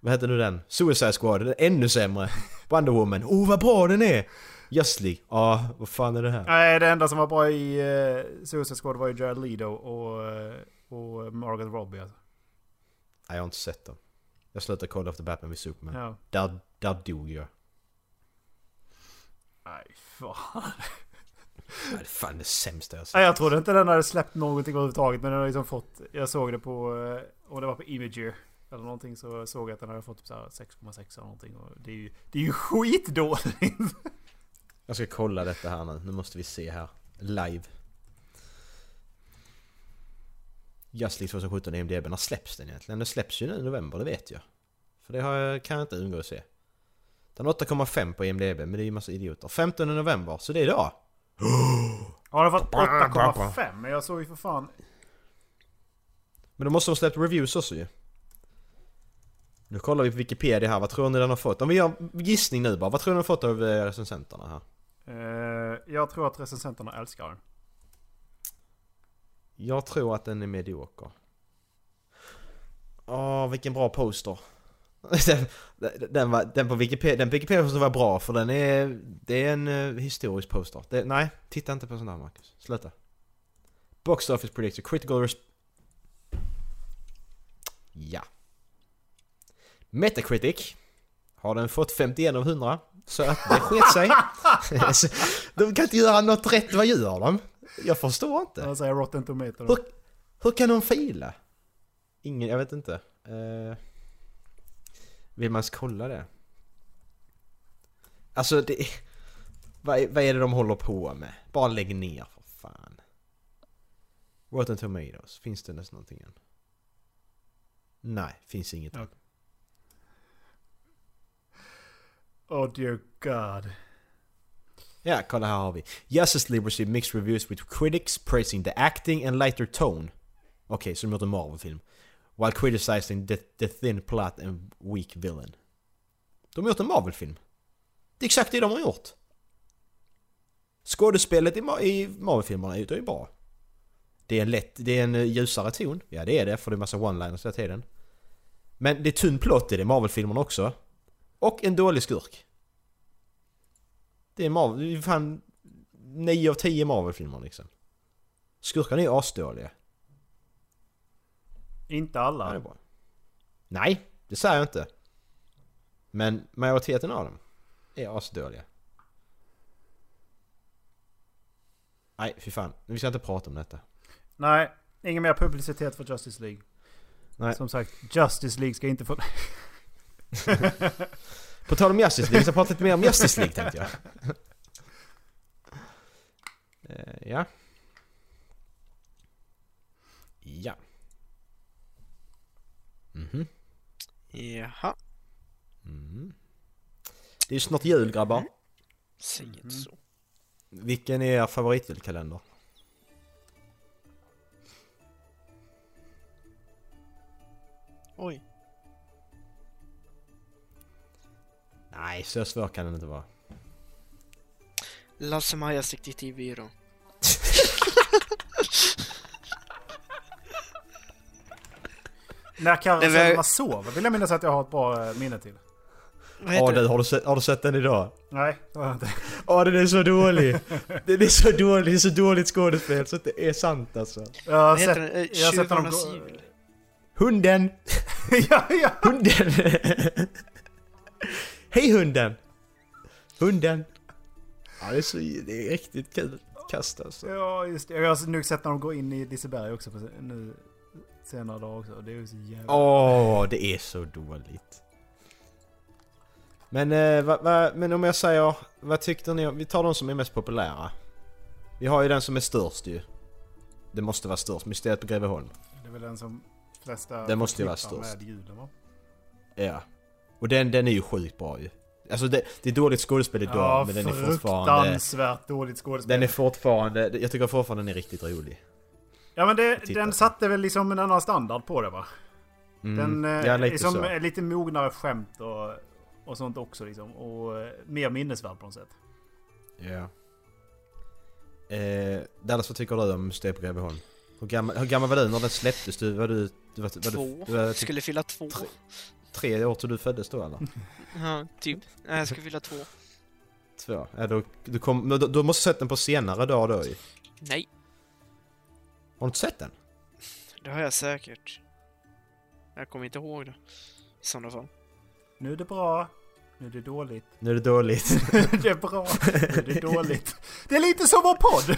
[SPEAKER 9] Vad heter nu den? Suicide Squad, den är ännu sämre. Wonder Woman, oh vad bra den är! Justice League, ja vad fan är det här?
[SPEAKER 8] Nej, det enda som var bra i uh, Suicide Squad var ju Jared Leto och, eh, och Margaret Robbie. Alltså.
[SPEAKER 9] Nej, jag har inte sett dem. Jag slutade kolla efter Batman vid Superman.
[SPEAKER 8] Ja.
[SPEAKER 9] Där, där dog jag.
[SPEAKER 8] Nej, fan.
[SPEAKER 9] Det är fan det sämsta jag sett.
[SPEAKER 8] Nej, jag trodde inte den hade släppt någonting överhuvudtaget. Men den har liksom fått... Jag såg det på... eh, Om det var på Imager. Eller någonting så såg jag att den hade fått typ så här 6,6 eller någonting. Och det är ju, det är ju skitdåligt.
[SPEAKER 9] Jag ska kolla detta här nu. Nu måste vi se här. Live. Just League 2017 i IMDB. När släpps den egentligen? Den släpps ju nu i november, det vet jag. För det har jag, kan jag inte undgå att se. Den har 8,5 på IMDB, men det är ju massa idioter. 15 november, så det är idag!
[SPEAKER 8] Ja, den har fått 8,5. Men jag såg ju för fan...
[SPEAKER 9] Men då måste de ha släppt reviews också ju. Nu kollar vi på Wikipedia här, vad tror ni den har fått? Om vi gör en gissning nu bara, vad tror ni den har fått av eh, recensenterna här?
[SPEAKER 8] eh, jag tror att recensenterna älskar den.
[SPEAKER 9] Jag tror att den är medioker. Åh, vilken bra poster. Den, den, var, den på Wikipedia, den på Wikipedia som var bra för den är... Det är en eh, historisk poster. Det, nej, titta inte på sån där Marcus. Sluta. Box Office Predictor, Critical Resp... Ja. Metacritic har den fått 51 av 100. Så att det sket sig. Så de kan inte göra något rätt, vad gör de? Jag förstår inte.
[SPEAKER 8] Jag säger Alltså, Rotten Tomato.
[SPEAKER 9] Hur, hur kan de fila? Ingen, jag vet inte. Eh, vill man ens kolla det? Alltså det... är- Vad, är- vad är det de håller på med? Bara lägg ner för fan. Rotten Tomatoes, finns det ens någonting än? Nej, finns inget än.
[SPEAKER 8] Oh dear god.
[SPEAKER 9] Ja, kolla här har vi. Justice League received mixed reviews with critics praising the acting and lighter tone. Okej, så de gjort en Marvel-film. While criticizing the, the thin plot and weak villain. De har gjort en Marvel-film. Det är exakt det de har gjort. Skådespelet i, Ma- i Marvel-filmerna är ju bra. Det är en lätt, det är en eh, ljusare ton. Ja det är det, för det är massa one-liners hela tiden. Men det är tunn plott i det, Marvel-filmerna också. Och en dålig skurk. Det är Marvel, det är fan 9 av 10 Marvel-filmer liksom. Skurkarna är ju asdåliga.
[SPEAKER 8] Inte
[SPEAKER 9] Ja, det
[SPEAKER 8] alla.
[SPEAKER 9] är bra. Nej, det säger jag inte. Men majoriteten av dem är asdåliga. Nej, fy fan. Vi ska inte prata om detta.
[SPEAKER 8] Nej, ingen mer publicitet för Justice League.
[SPEAKER 9] Nej.
[SPEAKER 8] Som sagt, Justice League ska inte få...
[SPEAKER 9] På tal om Justice League, så prata lite mer om Justice League tänkte jag. Eh, ja. Ja. Mhm.
[SPEAKER 10] Jaha,
[SPEAKER 9] Mm. Det är ju snart jul grabbar.
[SPEAKER 10] säg
[SPEAKER 8] Mhm.
[SPEAKER 10] inte så.
[SPEAKER 9] Vilken är er favoritjulkalender?
[SPEAKER 10] Oj,
[SPEAKER 9] Nej, så svår kan den inte vara.
[SPEAKER 10] Lasse-Majas detektivbyrå.
[SPEAKER 8] När Karin
[SPEAKER 10] Nej, men-
[SPEAKER 8] Selma sover vill jag minnas att jag har ett bra eh, minne till.
[SPEAKER 10] Vad
[SPEAKER 9] Ja
[SPEAKER 10] heter
[SPEAKER 9] du, har du, sett, har du sett den idag?
[SPEAKER 8] Nej, det har jag inte.
[SPEAKER 9] Ja den är så dålig! Den är så dålig, det är så dåligt skådespel så att det är sant alltså.
[SPEAKER 8] Jag har
[SPEAKER 10] Vad heter den?
[SPEAKER 8] sett...
[SPEAKER 10] Eh,
[SPEAKER 8] jag har sett honom
[SPEAKER 10] Tjuvarnas
[SPEAKER 8] gå-
[SPEAKER 10] jul?
[SPEAKER 9] Hunden!
[SPEAKER 8] ja, ja.
[SPEAKER 9] Hunden! Hej hunden! Hunden! Ja det är så, det är riktigt kul kast alltså.
[SPEAKER 8] ja, just det. Jag har nu sett när de går in i Liseberg också på, se- nu senare dagar också. Det är ju så jävla...
[SPEAKER 9] Åh, det är så dåligt. Men, eh, va, va, men om jag säger, vad tyckte ni om, vi tar de som är mest populära. Vi har ju den som är störst ju. Det måste vara störst, Mysteriet på Greveholm.
[SPEAKER 8] Det är väl den som flesta
[SPEAKER 9] Den måste ju vara
[SPEAKER 8] förknippar
[SPEAKER 9] störst.
[SPEAKER 8] med julen va?
[SPEAKER 9] Ja. Och den, den är ju sjukt bra ju. Alltså det, det är dåligt skådespel idag
[SPEAKER 8] Ja,
[SPEAKER 9] men den är fortfarande...
[SPEAKER 8] fruktansvärt dåligt skådespel.
[SPEAKER 9] Den är fortfarande, jag tycker fortfarande den är riktigt rolig.
[SPEAKER 8] Ja men det,
[SPEAKER 9] Titta.
[SPEAKER 8] den satte väl liksom en annan standard på det va? Den eh,
[SPEAKER 9] Mm. ja, lite
[SPEAKER 8] liksom,
[SPEAKER 9] så.
[SPEAKER 8] är lite mognare skämt och, och sånt också liksom. Och eh, mer minnesvärd på något sätt.
[SPEAKER 9] Ja. Eh, Dallas vad tycker du om Mysteriet på Greveholm? Hur gammal, hur gammal var du när den släpptes? Du var du... du var, var
[SPEAKER 10] Två.
[SPEAKER 9] Du, var, typ
[SPEAKER 10] Skulle fylla två.
[SPEAKER 9] Tre. tre år till du föddes då eller?
[SPEAKER 10] Ja, typ. Nej, jag skulle fylla två.
[SPEAKER 9] Två? Ja, du, du, kom, men du, du måste ha sett den på senare dag då ju.
[SPEAKER 10] Nej,
[SPEAKER 9] Har du inte sett den?
[SPEAKER 10] det har jag säkert. Jag kommer inte ihåg det. I sådana fall.
[SPEAKER 8] Nu är det bra. Nu är det dåligt.
[SPEAKER 9] Nu är det dåligt.
[SPEAKER 8] det är bra. Nu är det dåligt. Det är lite som vår podd.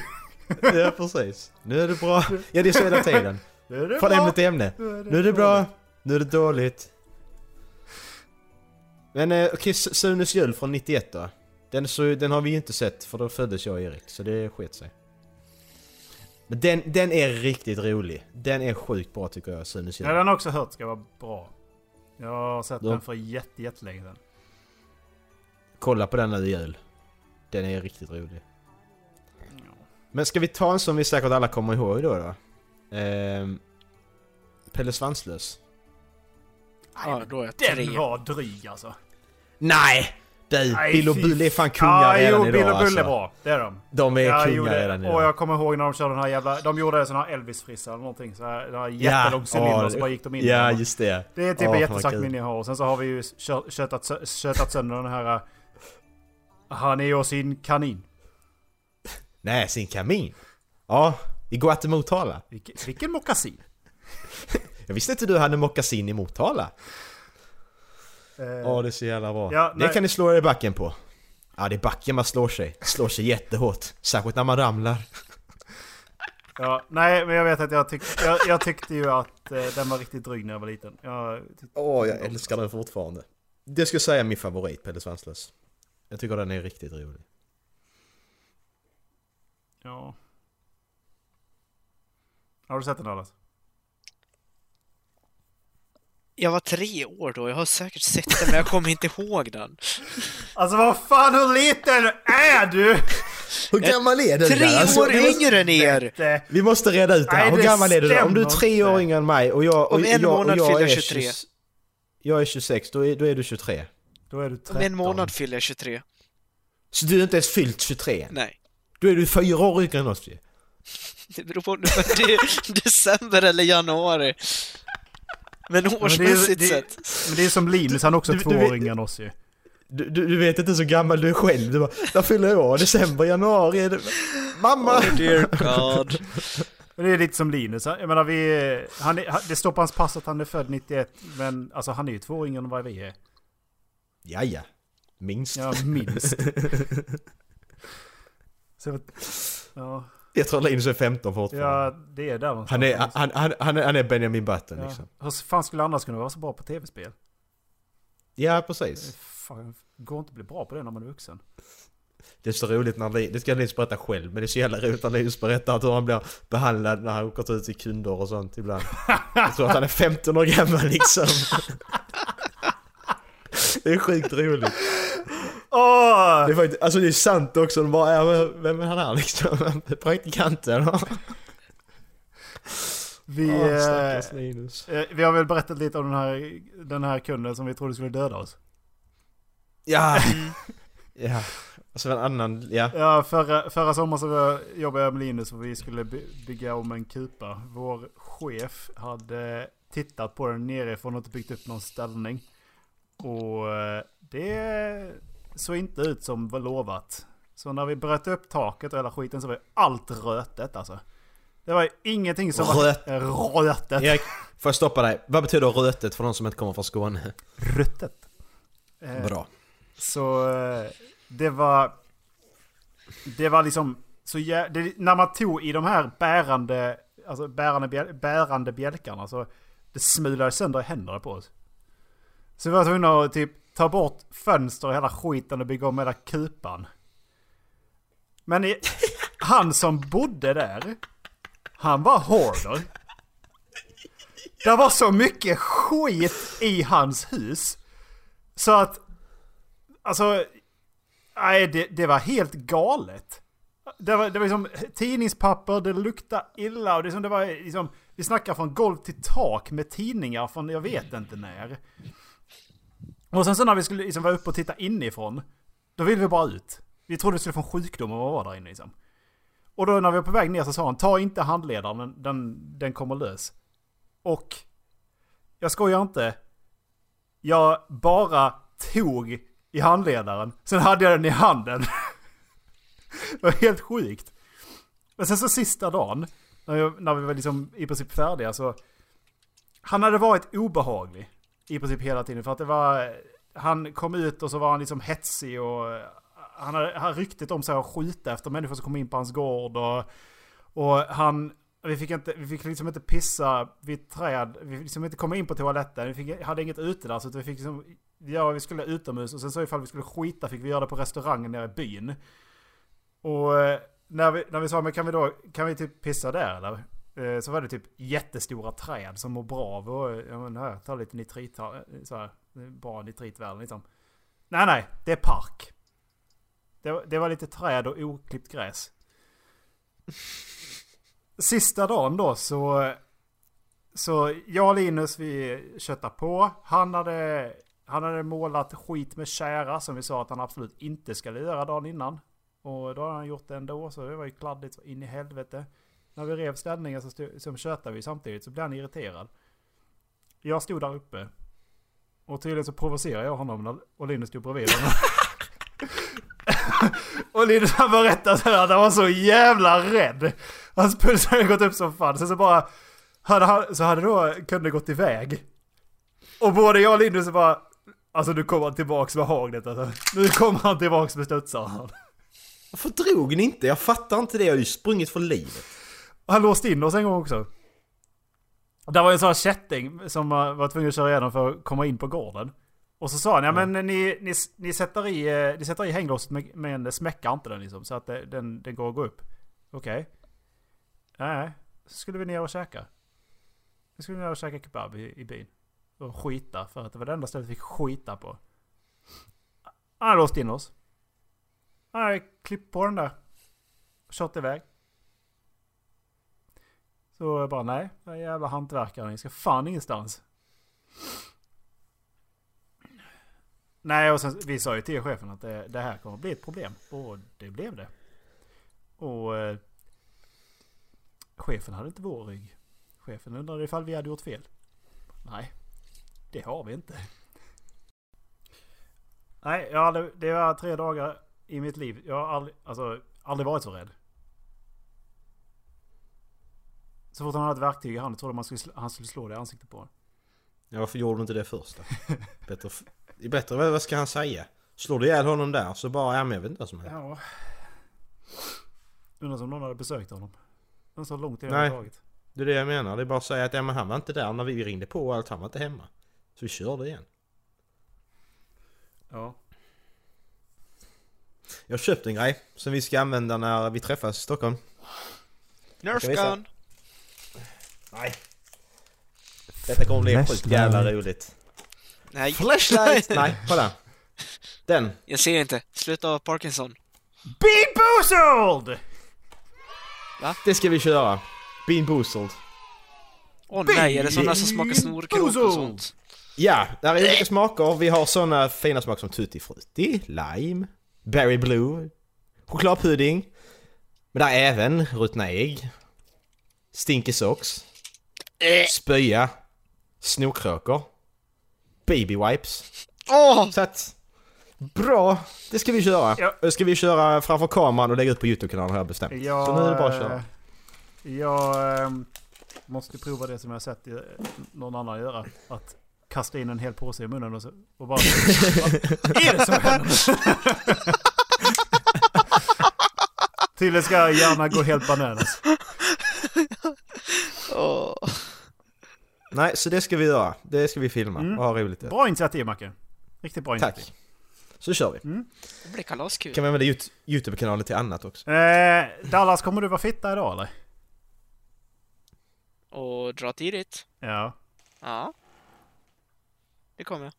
[SPEAKER 9] Ja, precis. Nu är det bra. Ja, det är så hela tiden.
[SPEAKER 8] Nu är det
[SPEAKER 9] Från
[SPEAKER 8] bra.
[SPEAKER 9] ämne till ämne.
[SPEAKER 8] Nu är det
[SPEAKER 9] Nu är det bra,
[SPEAKER 8] dåligt.
[SPEAKER 9] nu är det dåligt. Men eh, okej, S- Sunes jul från 91 då. Den, så, den har vi ju inte sett för då föddes jag och Erik, så det sket sig. Men den, den är riktigt rolig. Den är sjukt bra tycker jag, Sunes
[SPEAKER 8] Ja,
[SPEAKER 9] jul.
[SPEAKER 8] den har jag också hört ska vara bra. Jag har sett
[SPEAKER 9] Ja.
[SPEAKER 8] den för jätte, jättelänge sedan.
[SPEAKER 9] Kolla på den nu i jul. Den är riktigt rolig. Men ska vi ta en som vi säkert alla kommer ihåg då då? Ehm, Pelle Svanslös.
[SPEAKER 10] Ja, då är jag
[SPEAKER 8] Den
[SPEAKER 10] tre.
[SPEAKER 8] var dryg alltså.
[SPEAKER 9] Nej! Du,
[SPEAKER 8] Nej,
[SPEAKER 9] Bill och
[SPEAKER 8] fy
[SPEAKER 9] Bull är
[SPEAKER 8] fan.
[SPEAKER 9] fan kungar redan
[SPEAKER 8] jo,
[SPEAKER 9] idag
[SPEAKER 8] Bill och Bull är
[SPEAKER 9] alltså.
[SPEAKER 8] bra. Det är de.
[SPEAKER 9] De är
[SPEAKER 8] Jag
[SPEAKER 9] kungar
[SPEAKER 8] gjorde,
[SPEAKER 9] redan
[SPEAKER 8] Och
[SPEAKER 9] idag.
[SPEAKER 8] jag kommer ihåg när de körde den här jävla... De gjorde en sån här Elvis-frissa eller någonting. Så här, den här jättelång cylinder
[SPEAKER 9] ja,
[SPEAKER 8] så bara gick de in i
[SPEAKER 9] Ja,
[SPEAKER 8] den.
[SPEAKER 9] just det.
[SPEAKER 8] Det är typ
[SPEAKER 9] Åh,
[SPEAKER 8] ett
[SPEAKER 9] fan,
[SPEAKER 8] jättestarkt
[SPEAKER 9] kul.
[SPEAKER 8] minne jag har. Och sen så har vi ju kö- köttat, sö- köttat sönder den här... äh, Han är och sin kanin.
[SPEAKER 9] Nej, sin kamin. Ja, i Gå till Motala.
[SPEAKER 8] Vilken, vilken mockasin.
[SPEAKER 9] Jag visste inte du hade mockasin i Motala.
[SPEAKER 8] Eh,
[SPEAKER 9] Ja, det är så jävla bra.
[SPEAKER 8] Ja,
[SPEAKER 9] det
[SPEAKER 8] nej.
[SPEAKER 9] kan ni slå er i backen på. Ja, det är backen man slår sig. Slår sig jättehårt. Särskilt när man ramlar.
[SPEAKER 8] ja, nej, men jag vet att jag, tyck, jag, jag tyckte ju att eh, den var riktigt dryg när jag var liten. Jag,
[SPEAKER 9] Åh, jag älskar den fortfarande. Det skulle jag säga är min favorit, Pelle Svanslös. Jag tycker den är riktigt rolig.
[SPEAKER 8] ja. Har du sett den Dallas?
[SPEAKER 10] Jag var tre år då, jag har säkert sett den men jag kommer inte ihåg den.
[SPEAKER 8] Alltså vad fan hur liten är du?
[SPEAKER 9] Hur gammal är du?
[SPEAKER 10] Tre
[SPEAKER 9] där? Alltså,
[SPEAKER 10] år
[SPEAKER 9] vi måste-
[SPEAKER 10] yngre än er!
[SPEAKER 8] Det,
[SPEAKER 9] Vi måste reda ut det här.
[SPEAKER 8] Nej,
[SPEAKER 9] Hur
[SPEAKER 8] det
[SPEAKER 9] gammal är du? då? Om du är
[SPEAKER 8] stämmer
[SPEAKER 9] tre år
[SPEAKER 8] inte.
[SPEAKER 9] yngre än mig och jag, och
[SPEAKER 10] Om en
[SPEAKER 9] jag, och
[SPEAKER 10] månad
[SPEAKER 9] jag
[SPEAKER 10] fyller
[SPEAKER 9] är
[SPEAKER 10] 23.
[SPEAKER 9] 20 jag är 26, då är, då är du 23.
[SPEAKER 8] då är du
[SPEAKER 10] Om
[SPEAKER 8] 13.
[SPEAKER 10] en månad fyller jag 23.
[SPEAKER 9] Så du är inte ens fyllt 23 än?
[SPEAKER 10] Nej.
[SPEAKER 9] Då är du fyra år yngre än oss ju.
[SPEAKER 10] Det beror på om det är december eller januari. Men
[SPEAKER 8] Men det, är,
[SPEAKER 10] årsmässigt
[SPEAKER 8] det,
[SPEAKER 10] sett.
[SPEAKER 8] men det är som Linus, han är också
[SPEAKER 9] Du- du
[SPEAKER 8] två
[SPEAKER 9] vet-
[SPEAKER 8] år yngre än oss ju.
[SPEAKER 9] Du, du, du vet inte så gammal du är själv. Du bara, när fyller jag år? December, januari? Är det... Mamma!
[SPEAKER 8] typ-
[SPEAKER 10] Dear God.
[SPEAKER 8] Men det är lite som Linus, jag menar vi... Han är, han- det står på hans pass att han är född 91, men alltså han är ju två år yngre än vad vi är.
[SPEAKER 9] Ja, ja. Minst.
[SPEAKER 8] Ja, minst. Så, jag- ja,
[SPEAKER 9] Jag tror Linus är 15 fortfarande.
[SPEAKER 8] ja, det är där någonstans.
[SPEAKER 9] Han, är, han, han, han, är- han är Benjamin Button
[SPEAKER 8] ja.
[SPEAKER 9] liksom.
[SPEAKER 8] Hur fan skulle annars kunna vara så bra på tv-spel?
[SPEAKER 9] Ja, precis.
[SPEAKER 8] Fan, går inte att bli bra på det när man är vuxen.
[SPEAKER 9] Det är så roligt när Linus, det ska Linus berätta själv, men det är så jävla roligt när Linus berättar att hur han blir behandlad när han åker ut till kunder och sånt ibland. Jag tror att han är 15 år gammal liksom. Det är sjukt roligt.
[SPEAKER 8] Åh!
[SPEAKER 9] Det är faktiskt, alltså det är sant också, de bara, ja, men vem är han här liksom? Praktikanten? Åh,
[SPEAKER 8] Vi, eh,
[SPEAKER 9] stackars Linus.
[SPEAKER 8] eh, vi har väl berättat lite om den här, den här kunden som vi trodde skulle döda oss.
[SPEAKER 9] Ja. Ja. Och så en annan, ja.
[SPEAKER 8] Ja, förra, förra sommaren så var- jobbade jag med Linus och vi skulle by- bygga om en kupa. Vår chef hade tittat på den nerifrån och inte byggt upp någon ställning. Och eh, det såg inte ut som var lovat. Så när vi bröt upp taket och hela skiten så var ju allt rötet alltså. Det var ju ingenting som
[SPEAKER 9] Röt.
[SPEAKER 8] var rötet.
[SPEAKER 9] Erik, får jag stoppa dig? Vad betyder rötet för de som inte kommer från Skåne?
[SPEAKER 8] Rötet. Eh,
[SPEAKER 9] Bra.
[SPEAKER 8] Så eh, det var... Det var liksom... Så jä- det, när man tog i de här bärande, alltså bärande, bjäl- bärande bjälkarna så det smulade sönder i händerna på oss. Så vi var tvungna att typ ta bort fönster och hela skiten och bygga om hela kupan. Men i, han som bodde där, han var hoarder. Det var så mycket skit i hans hus. Så att Alltså, nej det, det var helt galet. Det var, det var liksom tidningspapper, det luktade illa och det, som det var liksom, vi snackar från golv till tak med tidningar från jag vet inte när. Och sen så när vi skulle liksom vara uppe och titta inifrån, då ville vi bara ut. Vi trodde vi skulle få en sjukdom om vi var där inne liksom. Och då när vi var på väg ner så sa han, ta inte handledaren, den, den, den kommer lös. Och, jag skojar inte, jag bara tog i handledaren. Sen hade jag den i handen. det var helt sjukt. Men sen så sista dagen, när, jag, när vi var liksom i princip färdiga så... Han hade varit obehaglig i princip hela tiden. För att det var... Han kom ut och så var han liksom hetsig och... han har, han har ryktet om sig att skjuta efter människor som kommer in på hans gård. Och, och han... Vi fick, inte, vi fick liksom inte pissa vid träd. Vi fick liksom inte komma in på toaletten. Vi fick, hade inget utedass. Utan vi fick liksom... Ja, vi skulle utomhus. Och sen så ifall vi skulle skita fick vi göra det på restaurangen nere i byn. Och eh, när vi, när vi sa men kan vi då... Kan vi typ pissa där eller? Eh, Så var det typ jättestora träd som mår bra av och ja, men här, ta lite nitrit här, eh, så här, det är bra nitritvärden liksom. Nej, nej, det är park. Det, var- det var lite träd och oklippt gräs. Sista dagen då så... Så jag och Linus vi köttade på. Han hade, han hade målat skit med kära som vi sa att han absolut inte skulle göra dagen innan. Och då hade han gjort det ändå så det var ju kladdigt så in i helvete. När vi rev ställningen så stod, som tjötade vi samtidigt så blev han irriterad. Jag stod där uppe. Och tydligen så provocerade jag honom när- och Linus stod bredvid honom. och Linus han berättade så här att han var så jävla rädd. Hans puls hade gått upp som fan. Sen så bara... Hade han, så hade då kunde gått iväg. Och både jag och Linus bara... Alltså nu kommer han tillbaks med hagnet alltså. Nu kommer han tillbaks med studsaren.
[SPEAKER 9] Varför drog ni inte? Jag fattar inte det. Jag har ju sprungit för livet.
[SPEAKER 8] Han låste in oss en gång också. Det var en sån här kätting som eh, var tvungen att köra igenom för att komma in på gården. Och så sa han, ja men eh, ni, ni, ni, sätter, i, eh, ni sätter i hänglåset men- men smäckar inte den liksom. Så att eh, den, den går att gå upp. Okej. Nej, så skulle vi ner och käka. Vi skulle ner och käka kebab i, i byn. Och skita, för att det var det enda stället vi fick skita på. Han hade låst in oss. Han hade klippt på den där. Kört iväg. Så jag bara nej, den här jävla hantverkaren ni ska fan ingenstans. Nej, och sen vi sa ju till chefen att det, det här kommer bli ett problem. Och det blev det. Och eh, chefen hade inte vår rygg. Chefen undrade ifall vi hade gjort fel. Nej, det har vi inte. Nej, jag hade, det var tre dagar i mitt liv. Jag har aldrig, alltså, aldrig varit så rädd. Så fort han hade ett verktyg i handen trodde man skulle, sl- han skulle slå det i ansiktet på en.
[SPEAKER 9] Ja, varför gjorde du inte det först då? Bättre, f- det är bättre, vad vad ska han säga? Slår du ihjäl honom där så bara, ja men jag vet inte vad som händer.
[SPEAKER 8] Ja. Undrar om någon hade besökt honom. Men så lång tid
[SPEAKER 9] Nej.
[SPEAKER 8] hade det tagit.
[SPEAKER 9] Det är det jag menar, det är bara att säga att ja, men han var inte där när vi ringde på och allt, han var inte hemma. Så vi körde igen.
[SPEAKER 8] Ja.
[SPEAKER 9] Jag köpte en grej som vi ska använda när vi träffas i Stockholm. Ska vi se.
[SPEAKER 10] Nerfgun!
[SPEAKER 9] Nej. Detta kommer bli sjukt jävla roligt.
[SPEAKER 10] Nej!
[SPEAKER 9] Flashlight! Nej, kolla. Den.
[SPEAKER 10] Jag ser inte. Sluta ha Parkinson.
[SPEAKER 8] Be boozled!
[SPEAKER 9] Det ska vi köra. Bean boozled.
[SPEAKER 10] Åh nej, är det sådana som smakar snorkrok och sånt?
[SPEAKER 9] Ja, där är olika smaker. Vi har såna fina smaker som tutti frutti, lime, berry blue, chokladpudding. Men där är även ruttna ägg, stinky socks, spöja, snorkråkor, baby wipes.
[SPEAKER 10] Åh!
[SPEAKER 9] Så att, bra, det ska vi köra.
[SPEAKER 8] Ja.
[SPEAKER 9] Och Det ska vi köra framför kameran och lägga ut på Youtube-kanalen har jag bestämt.
[SPEAKER 8] Jag,
[SPEAKER 9] Så nu är det bara att
[SPEAKER 8] eh.
[SPEAKER 9] köra.
[SPEAKER 8] Jag ehm, måste prova det som jag har sett eh, någon annan göra. Att kasta in en hel påse i munnen och, så, och bara... Vad är det som händer? Tydligen ska jag gärna gå helt bananas.
[SPEAKER 10] Åh.
[SPEAKER 9] Nej, så det ska vi göra. Det ska vi filma och ha roligt. i.
[SPEAKER 8] Mm. Bra initiativ Macke. Riktigt bra initiativ.
[SPEAKER 9] Tack. Så kör vi.
[SPEAKER 10] Det blir kalaskul.
[SPEAKER 9] Kan vi använda Yout- Youtube-kanalen till annat också?
[SPEAKER 8] Eh, Dallas, kommer du vara fitta idag eller?
[SPEAKER 10] Och dra tidigt.
[SPEAKER 8] Ja.
[SPEAKER 10] Ja. Det kommer jag.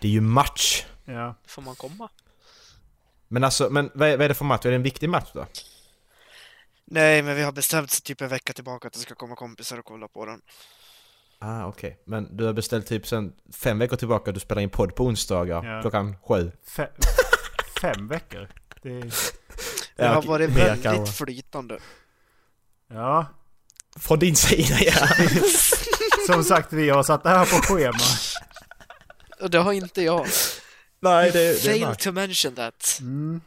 [SPEAKER 9] Det är ju match!
[SPEAKER 8] Ja.
[SPEAKER 10] Det får man komma.
[SPEAKER 9] Men alltså, men vad är, vad är det för match? Är det en viktig match då?
[SPEAKER 10] Nej, men vi har bestämt sig typ en vecka tillbaka att det ska komma kompisar och kolla på den.
[SPEAKER 9] Ah, okej. Men du har beställt typ sen fem veckor tillbaka, du spelar in podd på onsdagar
[SPEAKER 8] Ja.
[SPEAKER 9] klockan sju.
[SPEAKER 8] Fe- fem veckor. Det är,
[SPEAKER 10] Det har varit väldigt
[SPEAKER 9] kanske.
[SPEAKER 10] flytande.
[SPEAKER 8] ja.
[SPEAKER 9] Från din sida ja!
[SPEAKER 8] Som sagt, vi har satt det här på schema.
[SPEAKER 10] Och det har inte jag.
[SPEAKER 9] Nej, det, det är
[SPEAKER 10] Fail
[SPEAKER 9] match.
[SPEAKER 10] to mention that.
[SPEAKER 8] Mm.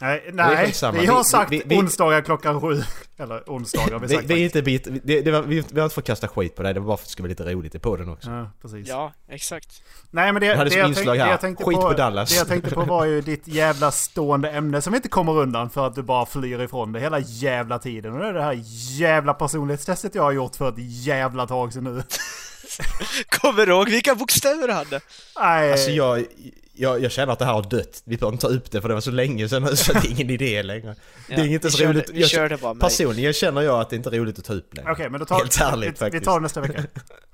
[SPEAKER 8] Nej,
[SPEAKER 9] Det är
[SPEAKER 8] nej.
[SPEAKER 9] skitsamma.
[SPEAKER 8] vi har
[SPEAKER 9] Vi-
[SPEAKER 8] sagt
[SPEAKER 9] vi- vi-
[SPEAKER 8] onsdagar klockan sju. Eller onsdagar har vi
[SPEAKER 9] Det,
[SPEAKER 8] sagt.
[SPEAKER 9] det är inte bit, det, det var, vi, vi har inte fått kasta skit på dig, det var bara för att det skulle vara lite roligt i podden också.
[SPEAKER 8] Ja, precis.
[SPEAKER 10] Ja, exakt.
[SPEAKER 8] Nej men det,
[SPEAKER 9] Jag
[SPEAKER 8] det,
[SPEAKER 9] hade som
[SPEAKER 8] jag
[SPEAKER 9] inslag
[SPEAKER 8] tänkte, det
[SPEAKER 9] här.
[SPEAKER 8] jag tänkte
[SPEAKER 9] Skit
[SPEAKER 8] på,
[SPEAKER 9] på Dallas.
[SPEAKER 8] Det jag tänkte på var ju ditt jävla stående ämne som vi inte kommer undan för att du bara flyr ifrån det hela jävla tiden. Och det är det här jävla personlighetstestet jag har gjort för ett jävla tag sedan nu.
[SPEAKER 10] Kommer du ihåg vilka bokstäver du hade?
[SPEAKER 8] Nej,
[SPEAKER 9] Alltså jag, jag, jag känner att det här har dött. Vi behöver inte ta upp det för det var så länge sedan nu, så det är ingen idé längre. det är
[SPEAKER 10] Ja,
[SPEAKER 9] inte
[SPEAKER 10] vi
[SPEAKER 9] så
[SPEAKER 10] kör
[SPEAKER 9] roligt.
[SPEAKER 10] det- vi
[SPEAKER 9] jag,
[SPEAKER 10] kör det bara med.
[SPEAKER 9] Personligen känner jag att det inte är roligt att ta upp längre.
[SPEAKER 8] okej men då tar
[SPEAKER 9] Helt ärligt
[SPEAKER 8] vi, vi
[SPEAKER 9] faktiskt.
[SPEAKER 8] tar det nästa vecka.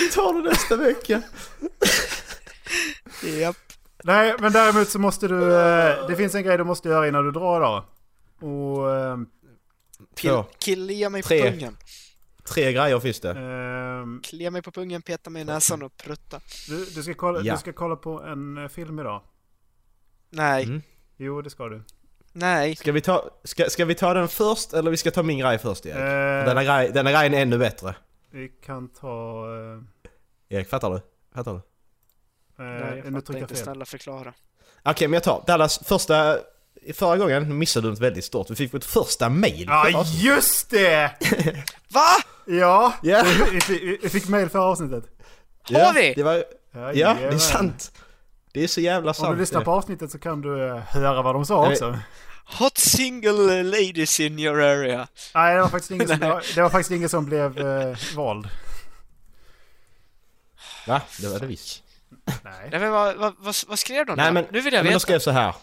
[SPEAKER 9] Vi tar det nästa vecka.
[SPEAKER 10] Japp.
[SPEAKER 8] Nej men däremot så måste du, eh, det finns en grej du måste göra innan du drar idag. Och... ehm,
[SPEAKER 10] Kill,
[SPEAKER 9] Två.
[SPEAKER 10] killia mig på
[SPEAKER 9] Tre.
[SPEAKER 10] pungen.
[SPEAKER 9] Tre grejer finns det.
[SPEAKER 8] ehm,
[SPEAKER 10] Klia mig på pungen, peta mig i näsan och prutta.
[SPEAKER 8] du, du, ska kolla,
[SPEAKER 9] Ja.
[SPEAKER 8] du ska kolla på en eh, film idag.
[SPEAKER 10] Nej,
[SPEAKER 9] Mm.
[SPEAKER 8] Jo det ska du.
[SPEAKER 10] nej.
[SPEAKER 9] Ska vi, ta, ska, ska vi ta den först eller vi ska ta min grej först Erik?
[SPEAKER 8] Eh.
[SPEAKER 9] Denna, grej, denna grejen är ännu bättre.
[SPEAKER 8] Vi kan ta... eh,
[SPEAKER 9] Erik, fattar du? Fattar du?
[SPEAKER 10] nej
[SPEAKER 8] Eh,
[SPEAKER 10] jag
[SPEAKER 8] nu
[SPEAKER 10] fattar
[SPEAKER 8] trycker jag
[SPEAKER 10] inte,
[SPEAKER 8] fel.
[SPEAKER 10] snälla förklara.
[SPEAKER 9] Okej, men jag tar Dallas första... i Förra gången missade du något väldigt stort. Vi fick vårt första mail.
[SPEAKER 8] Ja just det!
[SPEAKER 10] Va?
[SPEAKER 8] Ja,
[SPEAKER 9] Ja.
[SPEAKER 8] vi, vi, vi fick mail förra avsnittet.
[SPEAKER 10] Har
[SPEAKER 9] Ja,
[SPEAKER 10] vi?
[SPEAKER 9] Det var,
[SPEAKER 8] Ja,
[SPEAKER 9] ja, det är
[SPEAKER 8] jajamän.
[SPEAKER 9] sant. Det är så jävla sant.
[SPEAKER 8] Om du lyssnar
[SPEAKER 9] det.
[SPEAKER 8] på avsnittet så kan du eh, höra vad de sa
[SPEAKER 9] Nej.
[SPEAKER 8] också.
[SPEAKER 10] Hot single ladies in your area.
[SPEAKER 8] Nej, det var faktiskt ingen som, det var, det var faktiskt ingen som blev eh, vald.
[SPEAKER 9] Va? Det var det visst.
[SPEAKER 8] Nej.
[SPEAKER 10] Nej men vad, vad, vad, vad skrev de
[SPEAKER 9] Nej
[SPEAKER 10] där?
[SPEAKER 9] men,
[SPEAKER 10] Nu vill jag
[SPEAKER 9] men
[SPEAKER 10] veta.
[SPEAKER 9] då skrev jag så här.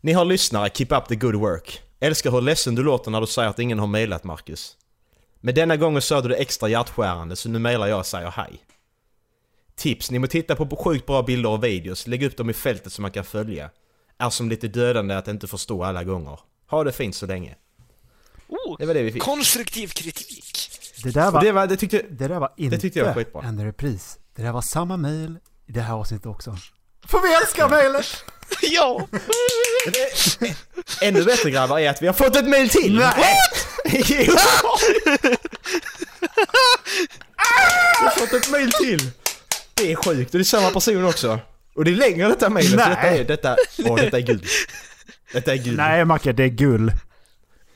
[SPEAKER 9] Ni har lyssnare, keep up the good work. Älskar hur ledsen du låter när du säger att ingen har mejlat Marcus. Men denna gången sa du det extra hjärtskärande så nu mejlar jag och säger hej. Tips, ni må titta på sjukt bra bilder och videos, lägg upp dem i fältet så man kan följa. Är som lite dödande att inte förstå alla gånger. Ha det fint så länge.
[SPEAKER 10] Oh,
[SPEAKER 9] Det var det vi fick.
[SPEAKER 10] konstruktiv kritik.
[SPEAKER 8] Det där
[SPEAKER 9] Och
[SPEAKER 8] var,
[SPEAKER 9] det,
[SPEAKER 8] det,
[SPEAKER 9] var, det tyckte...
[SPEAKER 8] där var inte
[SPEAKER 9] tyckte jag var skitbra.
[SPEAKER 8] en repris. Det där var samma mail i det här avsnittet också. För vi älskar mailen!
[SPEAKER 10] ja!
[SPEAKER 9] Ännu bättre grabbar är att vi har fått ett mail till! Nej! jo! vi har fått ett mail till! Det är sjukt och det är samma person också. Och det är längre detta mailet.
[SPEAKER 8] Nej.
[SPEAKER 9] Nej. Detta är, detta, åh detta är guld. Detta är guld.
[SPEAKER 8] Nej Macke, det är gull.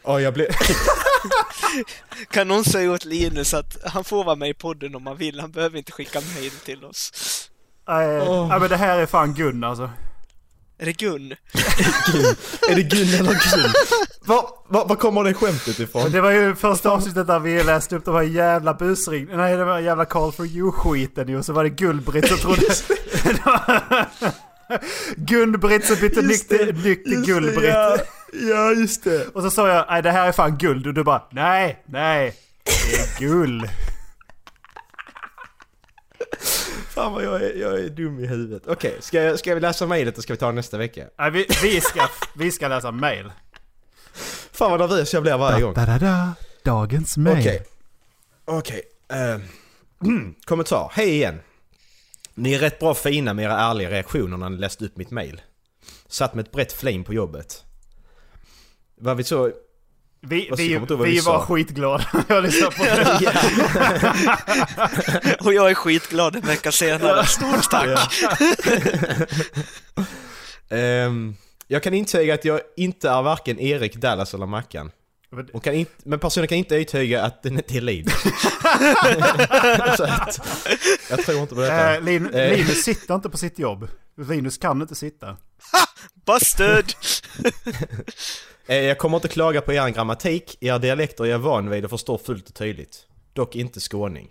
[SPEAKER 9] Åh jag blev...
[SPEAKER 10] Kan någon säga åt Linus att han får vara med i podden om han vill, han behöver inte skicka mail till oss.
[SPEAKER 8] Nej,
[SPEAKER 9] Åh.
[SPEAKER 8] nej, men det här är fan gun alltså.
[SPEAKER 10] Är det Gun?
[SPEAKER 9] är det guld eller guld? Var, var, var kommer det skämtet ifrån?
[SPEAKER 8] Det var ju första avsnittet där vi läste upp de här jävla busring... Nej, det var jävla call for you-skiten ju. Och så var det Gullbritt som trodde... Gun-Britt som bytte nyck till, nyck till
[SPEAKER 9] Just det,
[SPEAKER 8] Gull-Britt.
[SPEAKER 9] ja. Ja, just det.
[SPEAKER 8] Och så sa jag nej det här är fan guld och du bara nej, nej, det är guld.
[SPEAKER 9] Fan vad jag är, jag är dum i huvudet. Okej, ska, jag- ska vi läsa mejlet och ska vi ta det nästa vecka?
[SPEAKER 8] Nej, vi, vi, ska, vi ska läsa mail.
[SPEAKER 9] Fan vad nervös jag blir varje gång.
[SPEAKER 8] Da-da-da, dagens mail.
[SPEAKER 9] Okej. Okej. ehm, kommentar. Hej igen. Ni är rätt bra fina med era ärliga reaktioner när ni läste upp mitt mail. Satt med ett brett flame på jobbet. Vad vi så...
[SPEAKER 8] Vi,
[SPEAKER 9] Fast jag
[SPEAKER 8] vi,
[SPEAKER 9] kommer inte ihåg vad
[SPEAKER 8] vi,
[SPEAKER 9] vi
[SPEAKER 8] var
[SPEAKER 9] sa.
[SPEAKER 8] skitglada när jag lyssnade på det.
[SPEAKER 10] Och jag är skitglad en vecka senare. Stort tack!
[SPEAKER 9] Ehm, jag kan intyga att jag inte är varken Erik, Dallas eller Mackan.
[SPEAKER 8] Men-
[SPEAKER 9] Och kan inte, men personen kan inte intyga att den inte är Linus. så att, jag tror inte på detta.
[SPEAKER 8] Eh, Lin,
[SPEAKER 9] Eh.
[SPEAKER 8] Linus sitter inte på sitt jobb. Linus kan inte sitta.
[SPEAKER 10] Busted!
[SPEAKER 9] Eh, Jag kommer inte klaga på er grammatik, er dialekter är jag van vid och förstår fullt och tydligt. Dock inte skåning.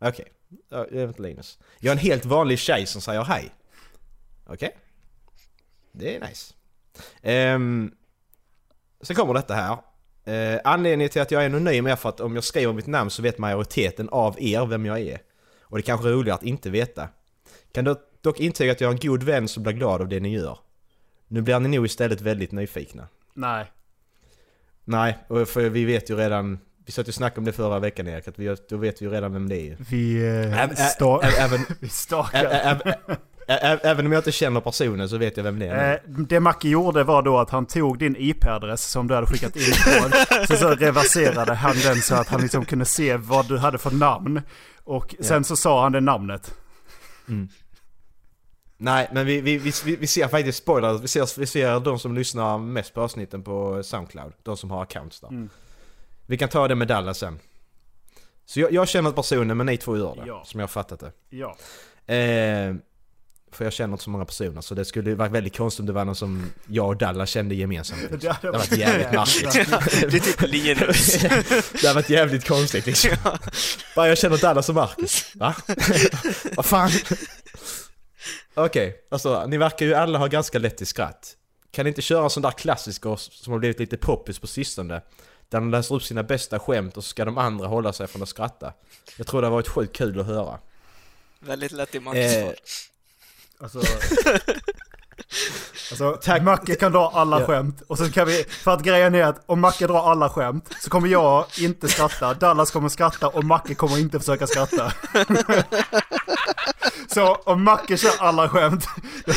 [SPEAKER 9] Okej, Ja, det är inte Linus. Jag är en helt vanlig tjej som säger hej. Okej. Det är nice. Um, sen kommer detta här. Eh, anledningen till att jag är anonym är för att om jag skriver mitt namn så vet majoriteten av er vem jag är. Och det kanske är roligare att inte veta. Kan dock, dock intyga att jag är en god vän som blir glad av det ni gör. Nu blir ni nog istället väldigt nyfikna.
[SPEAKER 8] Nej.
[SPEAKER 9] Nej, och för vi vet ju redan... Vi satt ju och snackade om det förra veckan Erik, att vi, då vet vi ju redan vem det är. ju.
[SPEAKER 8] Vi, eh,
[SPEAKER 9] Även-
[SPEAKER 8] sta-
[SPEAKER 9] ä- även-
[SPEAKER 8] vi stakar.
[SPEAKER 9] ä- ä- ä- ä- Även om jag inte känner personen så vet jag vem det är.
[SPEAKER 8] Eh, det Macke gjorde var då att han tog din IP-adress som du hade skickat in på. så, så reverserade han den så att han liksom kunde se vad du hade för namn. Och sen så sa han det namnet.
[SPEAKER 9] Nej, men vi, vi, vi, vi- vi ser faktiskt spoilers. Vi ser, vi ser de som lyssnar mest på avsnitten på Soundcloud. De som har accounts där.
[SPEAKER 8] Mm.
[SPEAKER 9] Vi kan ta det med Dallas sen. Så jag, jag känner personen, men ni två gör det.
[SPEAKER 8] Ja.
[SPEAKER 9] Som jag har fattat det.
[SPEAKER 8] Ja.
[SPEAKER 9] Eh, för jag känner inte så många personer, så det skulle ju vara väldigt konstigt om det var någon som jag och Dallas kände gemensamt. Liksom.
[SPEAKER 8] Det
[SPEAKER 9] Det
[SPEAKER 8] hade
[SPEAKER 9] hade varit
[SPEAKER 8] varit
[SPEAKER 9] jävligt märkligt.
[SPEAKER 10] Det är typ Linus.
[SPEAKER 9] Det hade varit jävligt konstigt liksom. Bara jag känner Dallas och Marcus. Va? Vad fan? Okej, alltså ni verkar ju alla ha ganska lätt till skratt. Kan ni inte köra en sån där klassiker som har blivit lite poppis på sistone? Där de läser upp sina bästa skämt och så ska de andra hålla sig från att skratta. Jag tror det har varit sjukt kul att höra.
[SPEAKER 10] Väldigt lätt i Max
[SPEAKER 9] Eh,
[SPEAKER 10] svar.
[SPEAKER 8] Alltså... Alltså, Macke kan dra alla
[SPEAKER 9] Ja.
[SPEAKER 8] skämt. Och sen kan vi, för att grejen är att om Macke drar alla skämt så kommer jag inte skratta, Dallas kommer skratta och Macke kommer inte försöka skratta. Så om Macke kör alla skämt, då,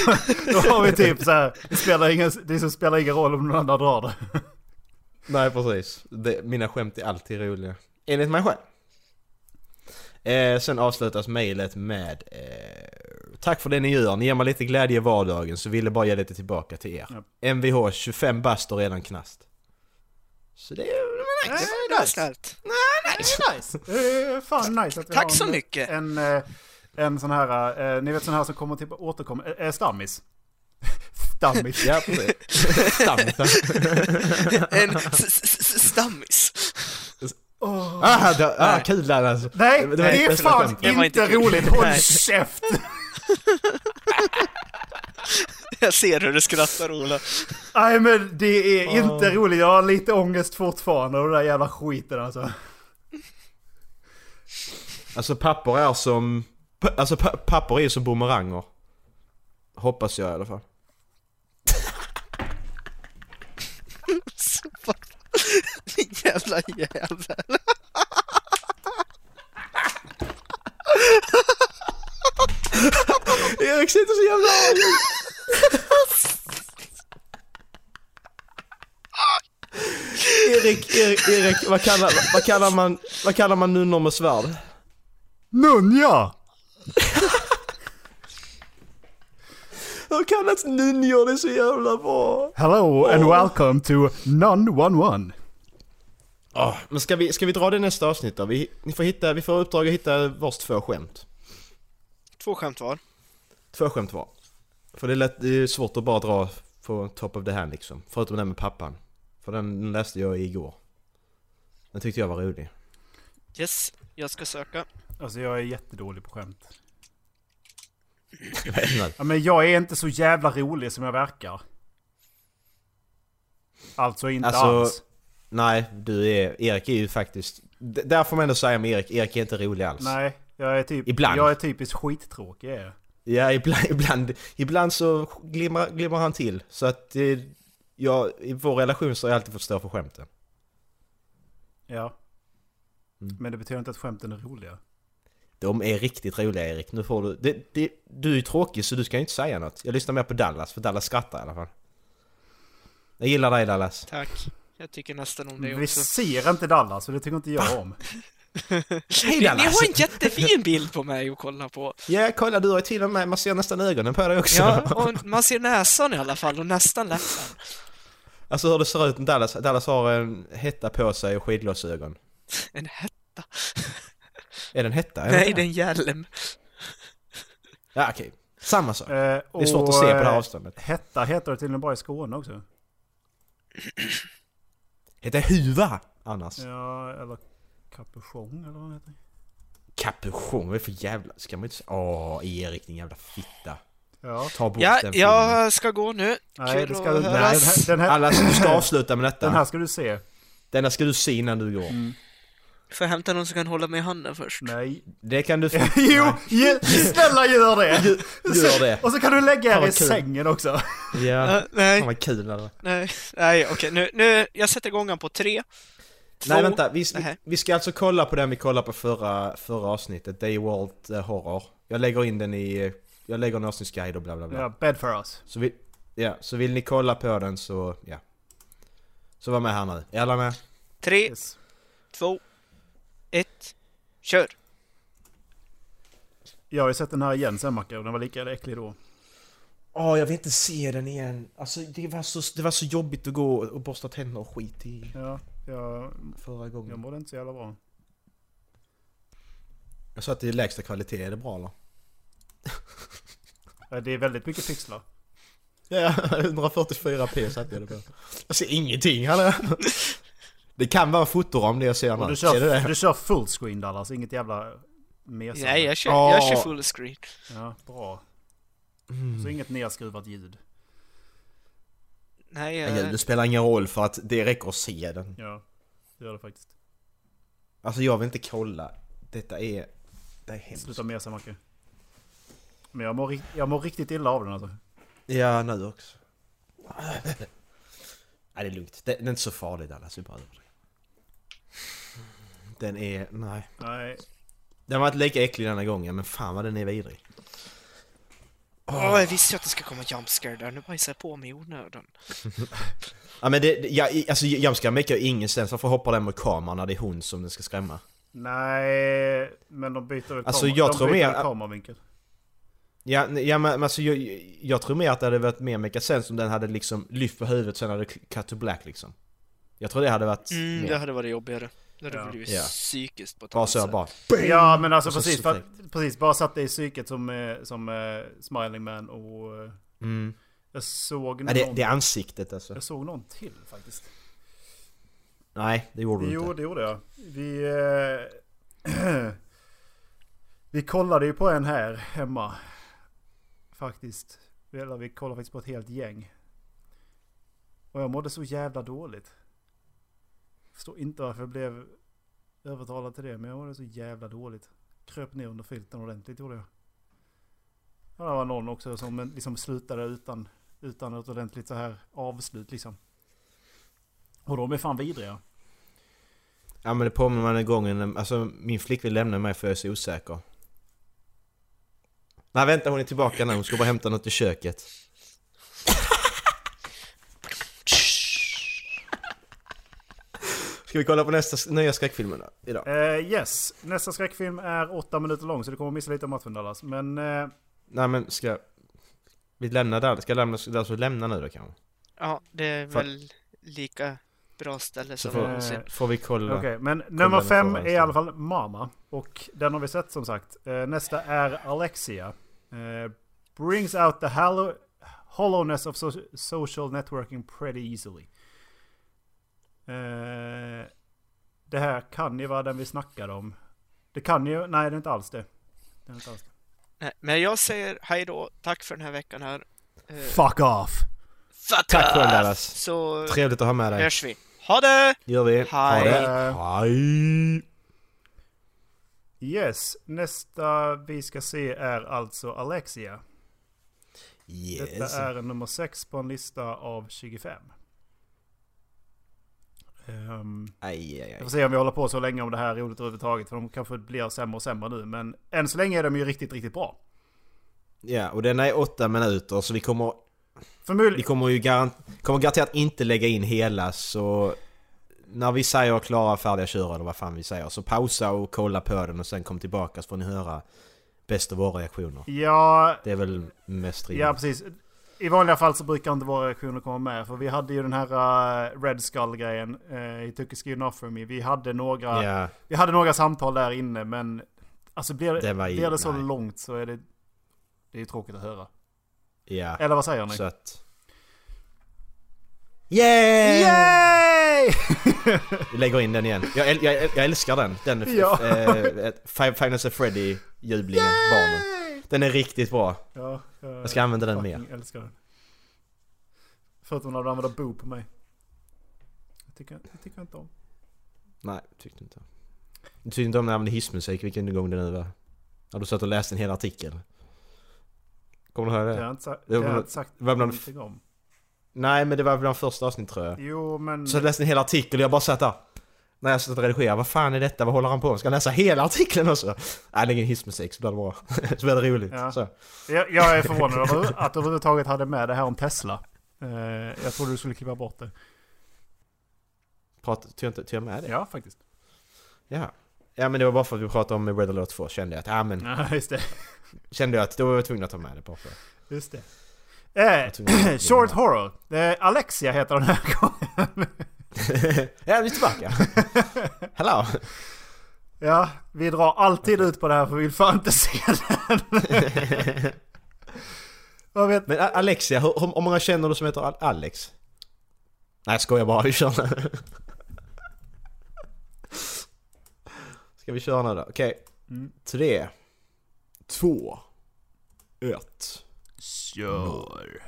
[SPEAKER 8] då har vi typ så här, det spelar ingen, det liksom spelar ingen roll om någon annan drar det.
[SPEAKER 9] Nej precis, det, mina skämt är alltid roliga. Enligt mig själv. Eh, sen avslutas mejlet med eh, Tack för det ni gör, ni ger mig lite glädje i vardagen så ville bara ge lite tillbaka till er. Mvh 25 bast och redan knast. Så det är det var nice.
[SPEAKER 10] Det var snällt.
[SPEAKER 8] Eh, fan nice att vi
[SPEAKER 10] Tack
[SPEAKER 8] har
[SPEAKER 10] så
[SPEAKER 8] en,
[SPEAKER 10] mycket.
[SPEAKER 8] En, eh, en sån här, eh, ni vet sån här som kommer till, återkommer, eh, eh, stammis. Stammis.
[SPEAKER 9] Ja precis. Stammisar.
[SPEAKER 10] En s- s- s- stammis.
[SPEAKER 9] ah, det, ah, kul där alltså.
[SPEAKER 8] Nej, det,
[SPEAKER 9] var ditt
[SPEAKER 8] är
[SPEAKER 9] bästa
[SPEAKER 8] fan
[SPEAKER 9] skämt.
[SPEAKER 10] Det var
[SPEAKER 8] inte,
[SPEAKER 10] inte kul.
[SPEAKER 8] roligt. Håll
[SPEAKER 10] Nej.
[SPEAKER 8] käft!
[SPEAKER 10] Jag ser hur du skrattar Ola.
[SPEAKER 8] Nej men det är inte roligt. Jag har lite ångest fortfarande av den där jävla skiten alltså.
[SPEAKER 9] Alltså papper är som... pa- Alltså pa- papper är ju som bumeranger. Hoppas jag i alla fall.
[SPEAKER 10] Din jävla jävel.
[SPEAKER 9] Erik sitter så jävla arg Erik, Erik, Erik, vad kallar, vad kallar man, vad kallar man nunnor med svärd?
[SPEAKER 8] Nunja!
[SPEAKER 9] Hur kallas nunnor? Det är så jävla bra!
[SPEAKER 8] Hello and welcome to Non-1-1.
[SPEAKER 9] Ah, men ska vi, ska vi dra det i nästa avsnitt då? Vi, ni får hitta, vi får uppdrag att hitta vars två skämt.
[SPEAKER 10] Två skämt var.
[SPEAKER 9] Två skämt var. För det är, lätt, det är svårt att bara dra på top of the hand liksom. Förutom den med pappan. För den läste jag igår. Den tyckte jag var rolig.
[SPEAKER 10] Yes, jag ska söka.
[SPEAKER 8] Alltså jag är jättedålig på skämt.
[SPEAKER 9] Jag vet inte.
[SPEAKER 8] Ja, men jag är inte så jävla rolig som jag verkar. Alltså inte
[SPEAKER 9] Alltså-
[SPEAKER 8] alls.
[SPEAKER 9] Nej, du är... Erik är ju faktiskt... D- där får man ändå säga med Erik, Erik är inte rolig alls.
[SPEAKER 8] Nej, jag är typ...
[SPEAKER 9] Ibland.
[SPEAKER 8] Jag är typiskt skittråkig är jag.
[SPEAKER 9] Ja, ibland, ibland, ibland så glimmar, glimmar han till. Så att eh, jag, i vår relation så har jag alltid fått stå för skämten.
[SPEAKER 8] Ja. Men det betyder inte att skämten är roliga.
[SPEAKER 9] De är riktigt roliga Erik. Nu får du... Det, det, du är ju tråkig så du ska ju inte säga något. Jag lyssnar mer på Dallas, för Dallas skrattar i alla fall. Jag gillar dig Dallas.
[SPEAKER 10] Tack. Jag tycker nästan om det
[SPEAKER 8] Vi
[SPEAKER 10] också.
[SPEAKER 8] ser inte Dallas så det tycker inte jag om.
[SPEAKER 9] Hej
[SPEAKER 10] Ni, ni
[SPEAKER 9] Dallas!
[SPEAKER 10] har en jättefin bild på mig att kolla på.
[SPEAKER 9] Ja, kolla du har ju till och med... Man ser nästan ögonen på dig också.
[SPEAKER 10] Ja, och man ser näsan i alla fall och nästan läppen.
[SPEAKER 9] Alltså hur det ser ut, Dallas, Dallas har en hetta på sig och skidglasögon.
[SPEAKER 10] En hett...
[SPEAKER 9] Är den hetta? Är
[SPEAKER 10] Nej,
[SPEAKER 9] den-
[SPEAKER 10] det är en hjälm.
[SPEAKER 9] Ja, okej. Samma sak.
[SPEAKER 8] Eh,
[SPEAKER 9] Det är svårt att se på det här avståndet.
[SPEAKER 8] Hetta heter det till och med bara i Skåne också.
[SPEAKER 9] Heter huva annars.
[SPEAKER 8] Ja, eller kapuschong eller vad det heter.
[SPEAKER 9] Kapuschong, vad är det för jävla... Ska man inte säga... Åh, Erik din jävla fitta.
[SPEAKER 8] Ja.
[SPEAKER 9] Ta bort
[SPEAKER 10] Ja,
[SPEAKER 9] den filmen.
[SPEAKER 10] jag ska gå nu.
[SPEAKER 8] Nej, det ska
[SPEAKER 10] att
[SPEAKER 8] du inte.
[SPEAKER 10] höras.
[SPEAKER 8] Den här, den, här,
[SPEAKER 9] Alla, du ska avsluta med detta.
[SPEAKER 8] den
[SPEAKER 9] Den
[SPEAKER 8] här Mm. ska du se.
[SPEAKER 9] ska du se innan du går.
[SPEAKER 10] Får jag hämta någon som kan hålla mig i handen först?
[SPEAKER 8] Nej.
[SPEAKER 9] Det kan du... få-
[SPEAKER 8] Jo, ge, snälla gör det!
[SPEAKER 9] Gör det.
[SPEAKER 8] Och så kan du lägga
[SPEAKER 9] Fan,
[SPEAKER 8] er i
[SPEAKER 9] vad kul.
[SPEAKER 8] sängen också.
[SPEAKER 9] Ja.
[SPEAKER 10] Äh, nej,
[SPEAKER 9] Fan vad kul det var.
[SPEAKER 10] nej, nej, okej, nu, nu, jag sätter igång han på tre.
[SPEAKER 9] Nej
[SPEAKER 10] Två.
[SPEAKER 9] vänta, vi,
[SPEAKER 10] Nähä.
[SPEAKER 9] vi ska alltså kolla på den vi kollade på förra, förra avsnittet, Day World eh, Horror. Jag lägger in den i... eh, Jag lägger en avsnittsguide och bla bla bla.
[SPEAKER 8] Ja, bed for us.
[SPEAKER 9] Så, vill, ja, så vill ni kolla på den så, ja. Så var med här nu. Är alla med?
[SPEAKER 10] Tre,
[SPEAKER 8] Yes.
[SPEAKER 10] två, ett, kör!
[SPEAKER 8] Jag har ju sett den här igen sen Macke och den var lika äcklig då.
[SPEAKER 9] Åh, jag vill inte se den igen. Alltså det var så, det var så jobbigt att gå och borsta tänder och skit i
[SPEAKER 8] Ja, jag,
[SPEAKER 9] förra gången.
[SPEAKER 8] jag mådde inte så jävla bra.
[SPEAKER 9] Jag sa att det är lägsta kvalitet, är det bra eller?
[SPEAKER 8] Ja, Det är väldigt mycket pixlar.
[SPEAKER 9] Ja, 144p satte jag det på. Jag ser ingenting hallå. Det kan vara en fotoram det jag ser
[SPEAKER 8] Och
[SPEAKER 9] nu.
[SPEAKER 8] du
[SPEAKER 9] Ser du
[SPEAKER 8] kör,
[SPEAKER 9] det?
[SPEAKER 8] du kör full screen Dallas, inget jävla mesande.
[SPEAKER 10] Nej, jag kör, jag
[SPEAKER 9] Ja.
[SPEAKER 10] kör full screen.
[SPEAKER 8] Ja, bra.
[SPEAKER 9] Mm.
[SPEAKER 8] Så inget nedskruvat ljud.
[SPEAKER 10] Nej,
[SPEAKER 9] Ja,
[SPEAKER 10] jag,
[SPEAKER 9] Det spelar ingen roll för att det räcker att se den.
[SPEAKER 8] Ja, det gör det faktiskt.
[SPEAKER 9] Alltså jag vill inte kolla. Detta är... Det är hemskt.
[SPEAKER 8] Sluta mesa Macke. Men jag mår, ri- jag mår riktigt illa av den alltså.
[SPEAKER 9] Ja, nu också. Nej, det är lugnt. Den, den är inte så farlig Dallas, vi bara överdriver. Den är... Nej.
[SPEAKER 8] Nej,
[SPEAKER 9] Den var inte lika äcklig denna gången, men fan vad den är vidrig.
[SPEAKER 10] Åh, jag visste ju att det skulle komma jumpscare där, nu bajsar jag på mig i onödan.
[SPEAKER 9] Ja men det, det- ja, i- alltså Jamska mekar ju ingen sens, varför hoppar den mot kameran när det är hon som den ska skrämma?
[SPEAKER 8] nej, men de byter väl
[SPEAKER 9] Alltså,
[SPEAKER 8] kamera-
[SPEAKER 9] jag
[SPEAKER 8] de
[SPEAKER 9] tror
[SPEAKER 8] byter
[SPEAKER 9] mer-
[SPEAKER 8] väl kameravinkel.
[SPEAKER 9] Ja, nej, ja men men alltså jag, jag tror mer att det hade varit mer meka sens om den hade liksom lyft på huvudet sen hade det cut to black liksom. Jag tror det hade varit
[SPEAKER 10] Mm,
[SPEAKER 9] mer.
[SPEAKER 10] det hade varit jobbigare. Det hade
[SPEAKER 8] Ja.
[SPEAKER 10] blivit
[SPEAKER 9] Ja.
[SPEAKER 10] psykiskt på ett
[SPEAKER 9] Bara
[SPEAKER 10] annat
[SPEAKER 9] så,
[SPEAKER 10] sätt.
[SPEAKER 9] bara.
[SPEAKER 8] Ja men alltså
[SPEAKER 9] Och så
[SPEAKER 8] precis,
[SPEAKER 9] så
[SPEAKER 8] för att, precis, bara satt det i psyket som, eh, som eh, Smiling Man och... eh,
[SPEAKER 9] Mm.
[SPEAKER 8] Jag såg
[SPEAKER 9] Ja,
[SPEAKER 8] någon,
[SPEAKER 9] det, det är ansiktet alltså.
[SPEAKER 8] jag såg någon till faktiskt.
[SPEAKER 9] Nej, det gjorde du
[SPEAKER 8] Jo,
[SPEAKER 9] inte.
[SPEAKER 8] det gjorde jag. Vi... Eh, vi kollade ju på en här hemma. Faktiskt. Eller vi kollade faktiskt på ett helt gäng. Och jag mådde så jävla dåligt. Förstår inte varför jag blev övertalad till det, men jag mådde så jävla dåligt. Kröp ner under filten ordentligt gjorde jag. Ja, det var någon också som liksom slutade utan, utan ett ordentligt så här avslut liksom. Och de är fan vidriga.
[SPEAKER 9] Ja men det påminner mig den gången, alltså min flickvän lämnade mig för jag är så osäker. Nej vänta, hon är tillbaka nu, hon ska bara hämta något i köket. Ska vi kolla på nästa nya skräckfilmen då, idag?
[SPEAKER 8] Eh, yes, nästa skräckfilm är åtta minuter lång så du kommer missa lite av matchen Dallas. Men eh,
[SPEAKER 9] Nej men ska... Vi lämnar där, ska jag lämna, ska alltså lämna nu då kanske?
[SPEAKER 10] Ja, det är
[SPEAKER 9] För-
[SPEAKER 10] väl lika bra ställe
[SPEAKER 9] Så
[SPEAKER 10] som
[SPEAKER 9] får,
[SPEAKER 10] någonsin.
[SPEAKER 9] får vi kolla.
[SPEAKER 8] okej, men nummer
[SPEAKER 9] den
[SPEAKER 8] fem
[SPEAKER 9] frågan
[SPEAKER 8] är i
[SPEAKER 9] sen.
[SPEAKER 8] alla fall Mama. Och den har vi sett som sagt. Eh, nästa är Alexia. Eh, brings out the hallow- hollowness of so- social networking pretty easily. Eh, det här kan ju vara den vi snackade om. Det kan ju, nej det är inte alls det. det, är inte alls det.
[SPEAKER 10] Nej, men jag säger hej då, tack för den här veckan här. Eh,
[SPEAKER 8] Fuck off!
[SPEAKER 10] fuck
[SPEAKER 9] Tack själv
[SPEAKER 10] off!
[SPEAKER 9] Dallas!
[SPEAKER 10] Så
[SPEAKER 9] Trevligt att ha med dig.
[SPEAKER 10] hörs vi. Ha det!
[SPEAKER 9] Gör vi. Ha
[SPEAKER 10] Hej.
[SPEAKER 9] det. Hej!
[SPEAKER 8] Yes, nästa vi ska se är alltså Alexia. Detta
[SPEAKER 9] Yes.
[SPEAKER 8] är nummer 6 på en lista av 25. Ehm,
[SPEAKER 9] Aj, aj,
[SPEAKER 8] jag
[SPEAKER 9] aj.
[SPEAKER 8] får se om vi håller på så länge om det här är roligt överhuvudtaget. För de kanske blir sämre och sämre nu. Men än så länge är de ju riktigt, riktigt bra.
[SPEAKER 9] Ja, och denna är åtta minuter så vi kommer, vi
[SPEAKER 8] Förmodligen...
[SPEAKER 9] kommer ju garant, kommer garanterat inte lägga in hela så... När vi säger klara, färdiga, köra eller vad fan vi säger så pausa och kolla på den och sen kom tillbaka så får ni höra bäst av våra reaktioner.
[SPEAKER 8] Ja,
[SPEAKER 9] Det är väl mest rimligt.
[SPEAKER 8] ja, precis. I vanliga fall så brukar inte våra reaktioner komma med. För vi hade ju den här eh, Red Skull-grejen eh, i Tukiski Enough For Me. Vi hade några...
[SPEAKER 9] Ja,
[SPEAKER 8] Vi hade några samtal där inne men alltså blir det,
[SPEAKER 9] Det var ju-
[SPEAKER 8] blir det så
[SPEAKER 9] nej.
[SPEAKER 8] långt så är det det är tråkigt att höra.
[SPEAKER 9] ja.
[SPEAKER 8] Eller vad säger ni?
[SPEAKER 9] Så att... Yay!
[SPEAKER 8] Yay!
[SPEAKER 9] Vi lägger in den igen. Jag, äl- jag, äl- jag älskar den. Den
[SPEAKER 8] Ja.
[SPEAKER 9] eh, Five Five Nights at Freddy jublingen, barnen. Den är riktigt bra.
[SPEAKER 8] ja,
[SPEAKER 9] Jag ska använda den mer.
[SPEAKER 8] Jag älskar den. Förutom när du använder bo på mig. Det tycker, det tycker jag inte om.
[SPEAKER 9] Nej, tyckte inte. Du tyckte inte om när jag använde hissmusik vilken gång det nu var? När du satt och läste en hel artikel. Kommer du ihåg
[SPEAKER 8] Det
[SPEAKER 9] det?
[SPEAKER 8] har jag inte, sa-
[SPEAKER 9] Det
[SPEAKER 8] det
[SPEAKER 9] var
[SPEAKER 8] har jag
[SPEAKER 9] bland-
[SPEAKER 8] inte sagt
[SPEAKER 9] det var bland-
[SPEAKER 8] någonting om.
[SPEAKER 9] Nej men det var bland första avsnitt tror jag.
[SPEAKER 8] Jo men...
[SPEAKER 9] Så jag läste en hel artikel och jag bara satt där. När jag satt och redigerade, vad fan är detta? Vad håller han på med? Ska jag läsa hela artikeln också? Nej, lägg in hissmusik så blir det bra. så blir det roligt.
[SPEAKER 8] Ja.
[SPEAKER 9] Så.
[SPEAKER 8] Jag, jag är förvånad över att du överhuvudtaget hade med det här om Tesla. Eh, jag trodde du skulle klippa bort det.
[SPEAKER 9] Prat, tog, jag inte, tog jag med det?
[SPEAKER 8] Ja faktiskt.
[SPEAKER 9] Ja. ja, men det var bara för att vi pratade om Red Alert 2 kände jag att, ja men
[SPEAKER 8] Ja just det.
[SPEAKER 9] Kände jag att då var jag tvungen att ta med det på för.
[SPEAKER 8] Just det.
[SPEAKER 9] tror jag-
[SPEAKER 8] Eh, short horror. Eh, Alexia heter den här gången.
[SPEAKER 9] Ja, vi är tillbaka. Hello.
[SPEAKER 8] Ja, vi drar alltid ut på det här för vi vill fan inte se den. Jag vet,
[SPEAKER 9] Men A- Alexia, hur, hur hur många känner du som heter Al- Alex? Nej, jag skojar bara. Vi kör nu. Ska vi köra nu då? Okej. Mm. Tre. Två. Ett.
[SPEAKER 8] Kör.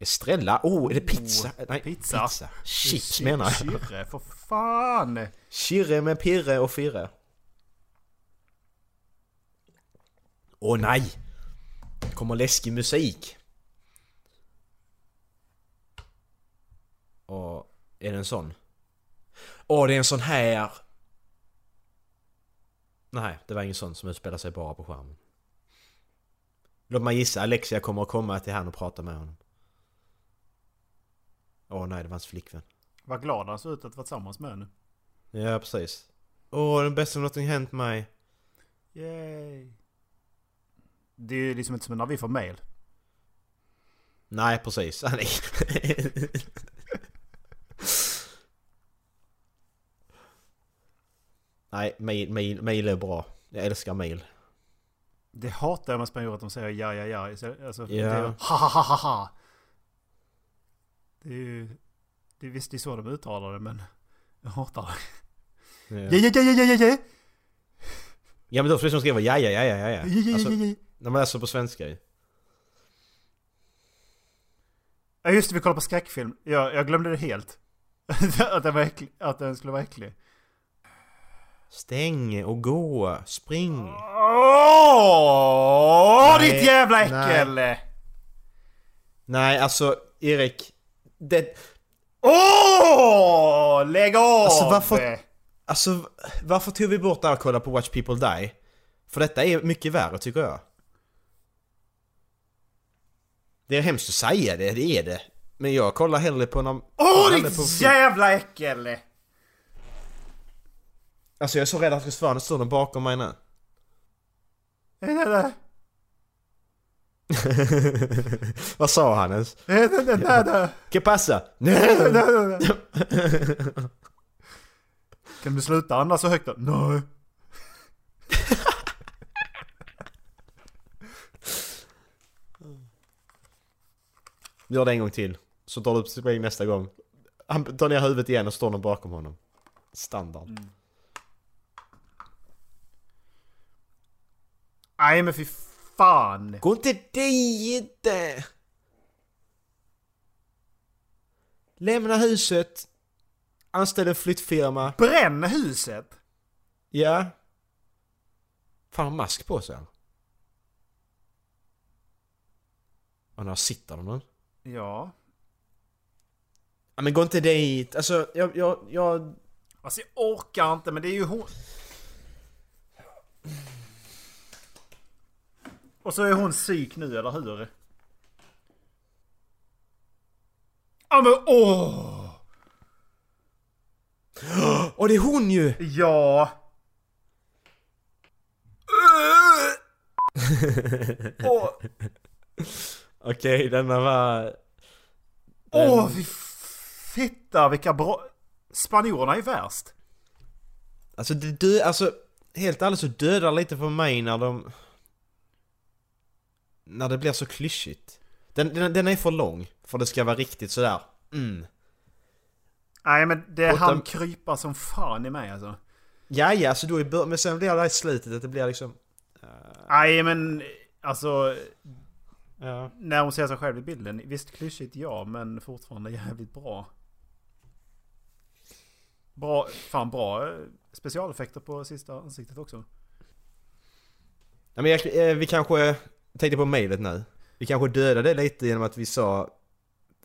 [SPEAKER 9] Estrella? Oh, är det pizza? Nej,
[SPEAKER 8] pizza.
[SPEAKER 9] Chips menar jag.
[SPEAKER 8] Kyrre, för fan.
[SPEAKER 9] Kirre med pirre och firre. Åh nej! Det kommer läskig musik. Åh, är det en sån? Åh, det är en sån här! Nej, det var ingen sån som utspelar sig bara på skärmen. Låt mig gissa, Alexia kommer att komma till han och prata med honom. Åh nej, det var hans flickvän.
[SPEAKER 8] Vad glad han såg ut att vara tillsammans med nu.
[SPEAKER 9] Ja, precis. Åh, den bästa som någonting hänt mig.
[SPEAKER 8] Yay. Det är ju liksom inte som när vi får mail.
[SPEAKER 9] Nej, precis. Ah, nej. nej, mail, mail, mail är bra. Jag älskar mail.
[SPEAKER 8] Det hatar jag med spanjorer att de säger ja, ja, ja. istället- Alltså, det är
[SPEAKER 9] Ja.
[SPEAKER 8] ha, ha, ha, ha, ha. Det är ju... Det är visst det är så de uttalar det, men... Jag hatar det. Ja,
[SPEAKER 9] Ja,
[SPEAKER 8] ja, ja, ja, ja, ja,
[SPEAKER 9] ja men de som skriver liksom ja, ja, ja, ja, ja.
[SPEAKER 8] ja, ja,
[SPEAKER 9] Alltså,
[SPEAKER 8] ja, ja, ja.
[SPEAKER 9] när man läser på svenska ju.
[SPEAKER 8] Ja just det, vi kollar på skräckfilm. Jag, jag glömde det helt. att, den var äcklig, att den skulle vara äcklig.
[SPEAKER 9] Stäng och gå, spring.
[SPEAKER 8] Åh,
[SPEAKER 9] Nej,
[SPEAKER 8] ditt jävla
[SPEAKER 9] nej.
[SPEAKER 8] äckel!
[SPEAKER 9] Nej, alltså Erik. Det,
[SPEAKER 8] Åh, lägg av!
[SPEAKER 9] Alltså, varför- alltså v- varför tog vi bort det här och kollade på Watch People Die? För detta är mycket värre tycker jag. Det är hemskt att säga det, det är det. Men jag kollar hellre på någon...
[SPEAKER 8] Åh,
[SPEAKER 9] hellre
[SPEAKER 8] ditt
[SPEAKER 9] på-
[SPEAKER 8] jävla äckel!
[SPEAKER 9] Alltså jag är så rädd att försvann står någon bakom mig nu.
[SPEAKER 8] Nej, nej, nej.
[SPEAKER 9] Vad sa han ens?
[SPEAKER 8] Nej, nej, nej, nej, nej.
[SPEAKER 9] Que pasa?
[SPEAKER 8] Nej, nej, nej, nej. Kan du sluta andas så högt då? Nej.
[SPEAKER 9] Gör det en gång till. Så tar du upp spring nästa gång. Han tar ner huvudet igen och står någon bakom honom. Standard.
[SPEAKER 8] Nej, men fy fan.
[SPEAKER 9] Gå inte dit! Lämna huset. Anställ en flyttfirma.
[SPEAKER 8] Bränn huset!
[SPEAKER 9] Ja. Fan har mask på sig han. Och när sitter de nu?
[SPEAKER 8] Ja.
[SPEAKER 9] Ja men gå inte dit. Alltså jag, jag, jag...
[SPEAKER 8] Alltså jag orkar inte men det är ju hon... Och så är hon psyk nu eller hur? Ja men åh!
[SPEAKER 9] Och det är hon ju!
[SPEAKER 8] Ja! Åh,
[SPEAKER 9] Okej, denna var...
[SPEAKER 8] åh vi fitta vilka bra... Spanjorerna är värst.
[SPEAKER 9] Alltså det dö... Alltså helt ärligt så dödar lite för mig när de... När det blir så klyschigt. Den, den, den är för lång för det ska vara riktigt sådär. Mm.
[SPEAKER 8] Nej men det
[SPEAKER 9] Borta-
[SPEAKER 8] han krypa som fan i mig alltså.
[SPEAKER 9] Ja, ja, så då i bör- Men sen blir det här i slutet att det blir liksom...
[SPEAKER 8] Nej men alltså
[SPEAKER 9] Ja.
[SPEAKER 8] När hon ser sig själv i bilden, visst klyschigt ja, men fortfarande jävligt bra. Bra, fan bra eh, specialeffekter på sista ansiktet också.
[SPEAKER 9] Ja, men jag, eh, vi kanske... Tänkte på mejlet nu. Vi kanske dödar det lite genom att vi sa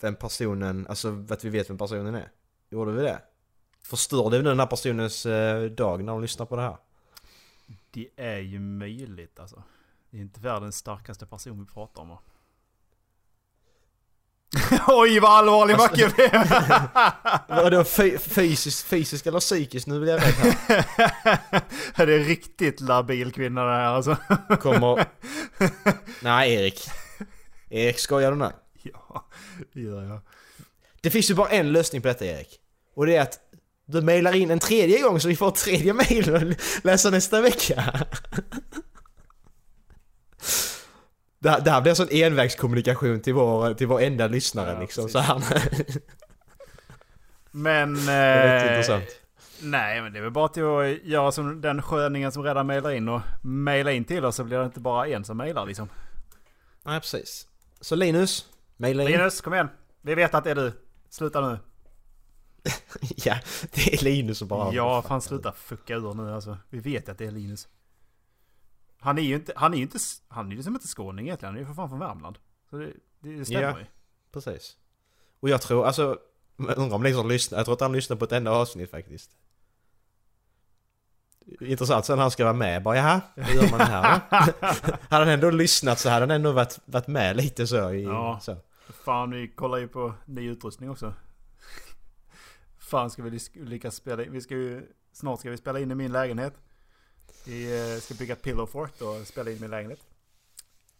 [SPEAKER 9] vem personen... Alltså att vi vet vem personen är. Gjorde vi det? Förstörde vi nu den här personens eh, dag när de lyssnar på det här?
[SPEAKER 8] Det är ju möjligt alltså. Det är inte världens starkaste person vi pratar om. va? Oj vad allvarlig Macke blev!
[SPEAKER 9] Vadå fy- fysiskt, fysiskt eller psykiskt? Nu blir jag rädd här.
[SPEAKER 8] Det är riktigt labil kvinna det här alltså.
[SPEAKER 9] Kommer... Nej Erik. Erik, skojar du nu?
[SPEAKER 8] Ja, det gör jag.
[SPEAKER 9] Det finns ju bara en lösning på detta Erik. Och det är att du mejlar in en tredje gång så vi får ett tredje mejl att läsa nästa vecka. Det här, det här blir en sån envägskommunikation till vår, till vår enda lyssnare
[SPEAKER 8] Ja,
[SPEAKER 9] liksom.
[SPEAKER 8] precis.
[SPEAKER 9] Så här.
[SPEAKER 8] Men...
[SPEAKER 9] Det är rätt
[SPEAKER 8] eh,
[SPEAKER 9] intressant.
[SPEAKER 8] Nej, men det är väl bara till att göra som den sköningen som redan mejlar in och mejla in till oss så blir det inte bara en som mejlar liksom.
[SPEAKER 9] Nej precis. Så Linus, mejla in.
[SPEAKER 8] Linus, kom igen. Vi vet att det är du. Sluta nu.
[SPEAKER 9] Ja, det är Linus som bara...
[SPEAKER 8] Ja, fan sluta fucka ur nu alltså. Vi vet att det är Linus. Han är ju inte, han är ju inte, han är ju liksom inte skåning egentligen. Han är ju för fan från Värmland. Så det, det stämmer
[SPEAKER 9] Ja.
[SPEAKER 8] ju.
[SPEAKER 9] Precis. Och jag tror, alltså... jag Undrar om liksom lyssnar, jag tror att han lyssnar på ett enda avsnitt faktiskt. Intressant sen han ska vara med, bara jaha, hur gör man det här? hade han ändå lyssnat så hade han ändå varit, varit med lite så i...
[SPEAKER 8] Ja.
[SPEAKER 9] Så.
[SPEAKER 8] Fan, vi kollar ju på ny utrustning också. Fan ska vi lis- lyckas spela in. Vi ska ju, snart ska vi spela in i min lägenhet. Vi eh, ska bygga ett pillow fort och spela in i min lägenhet.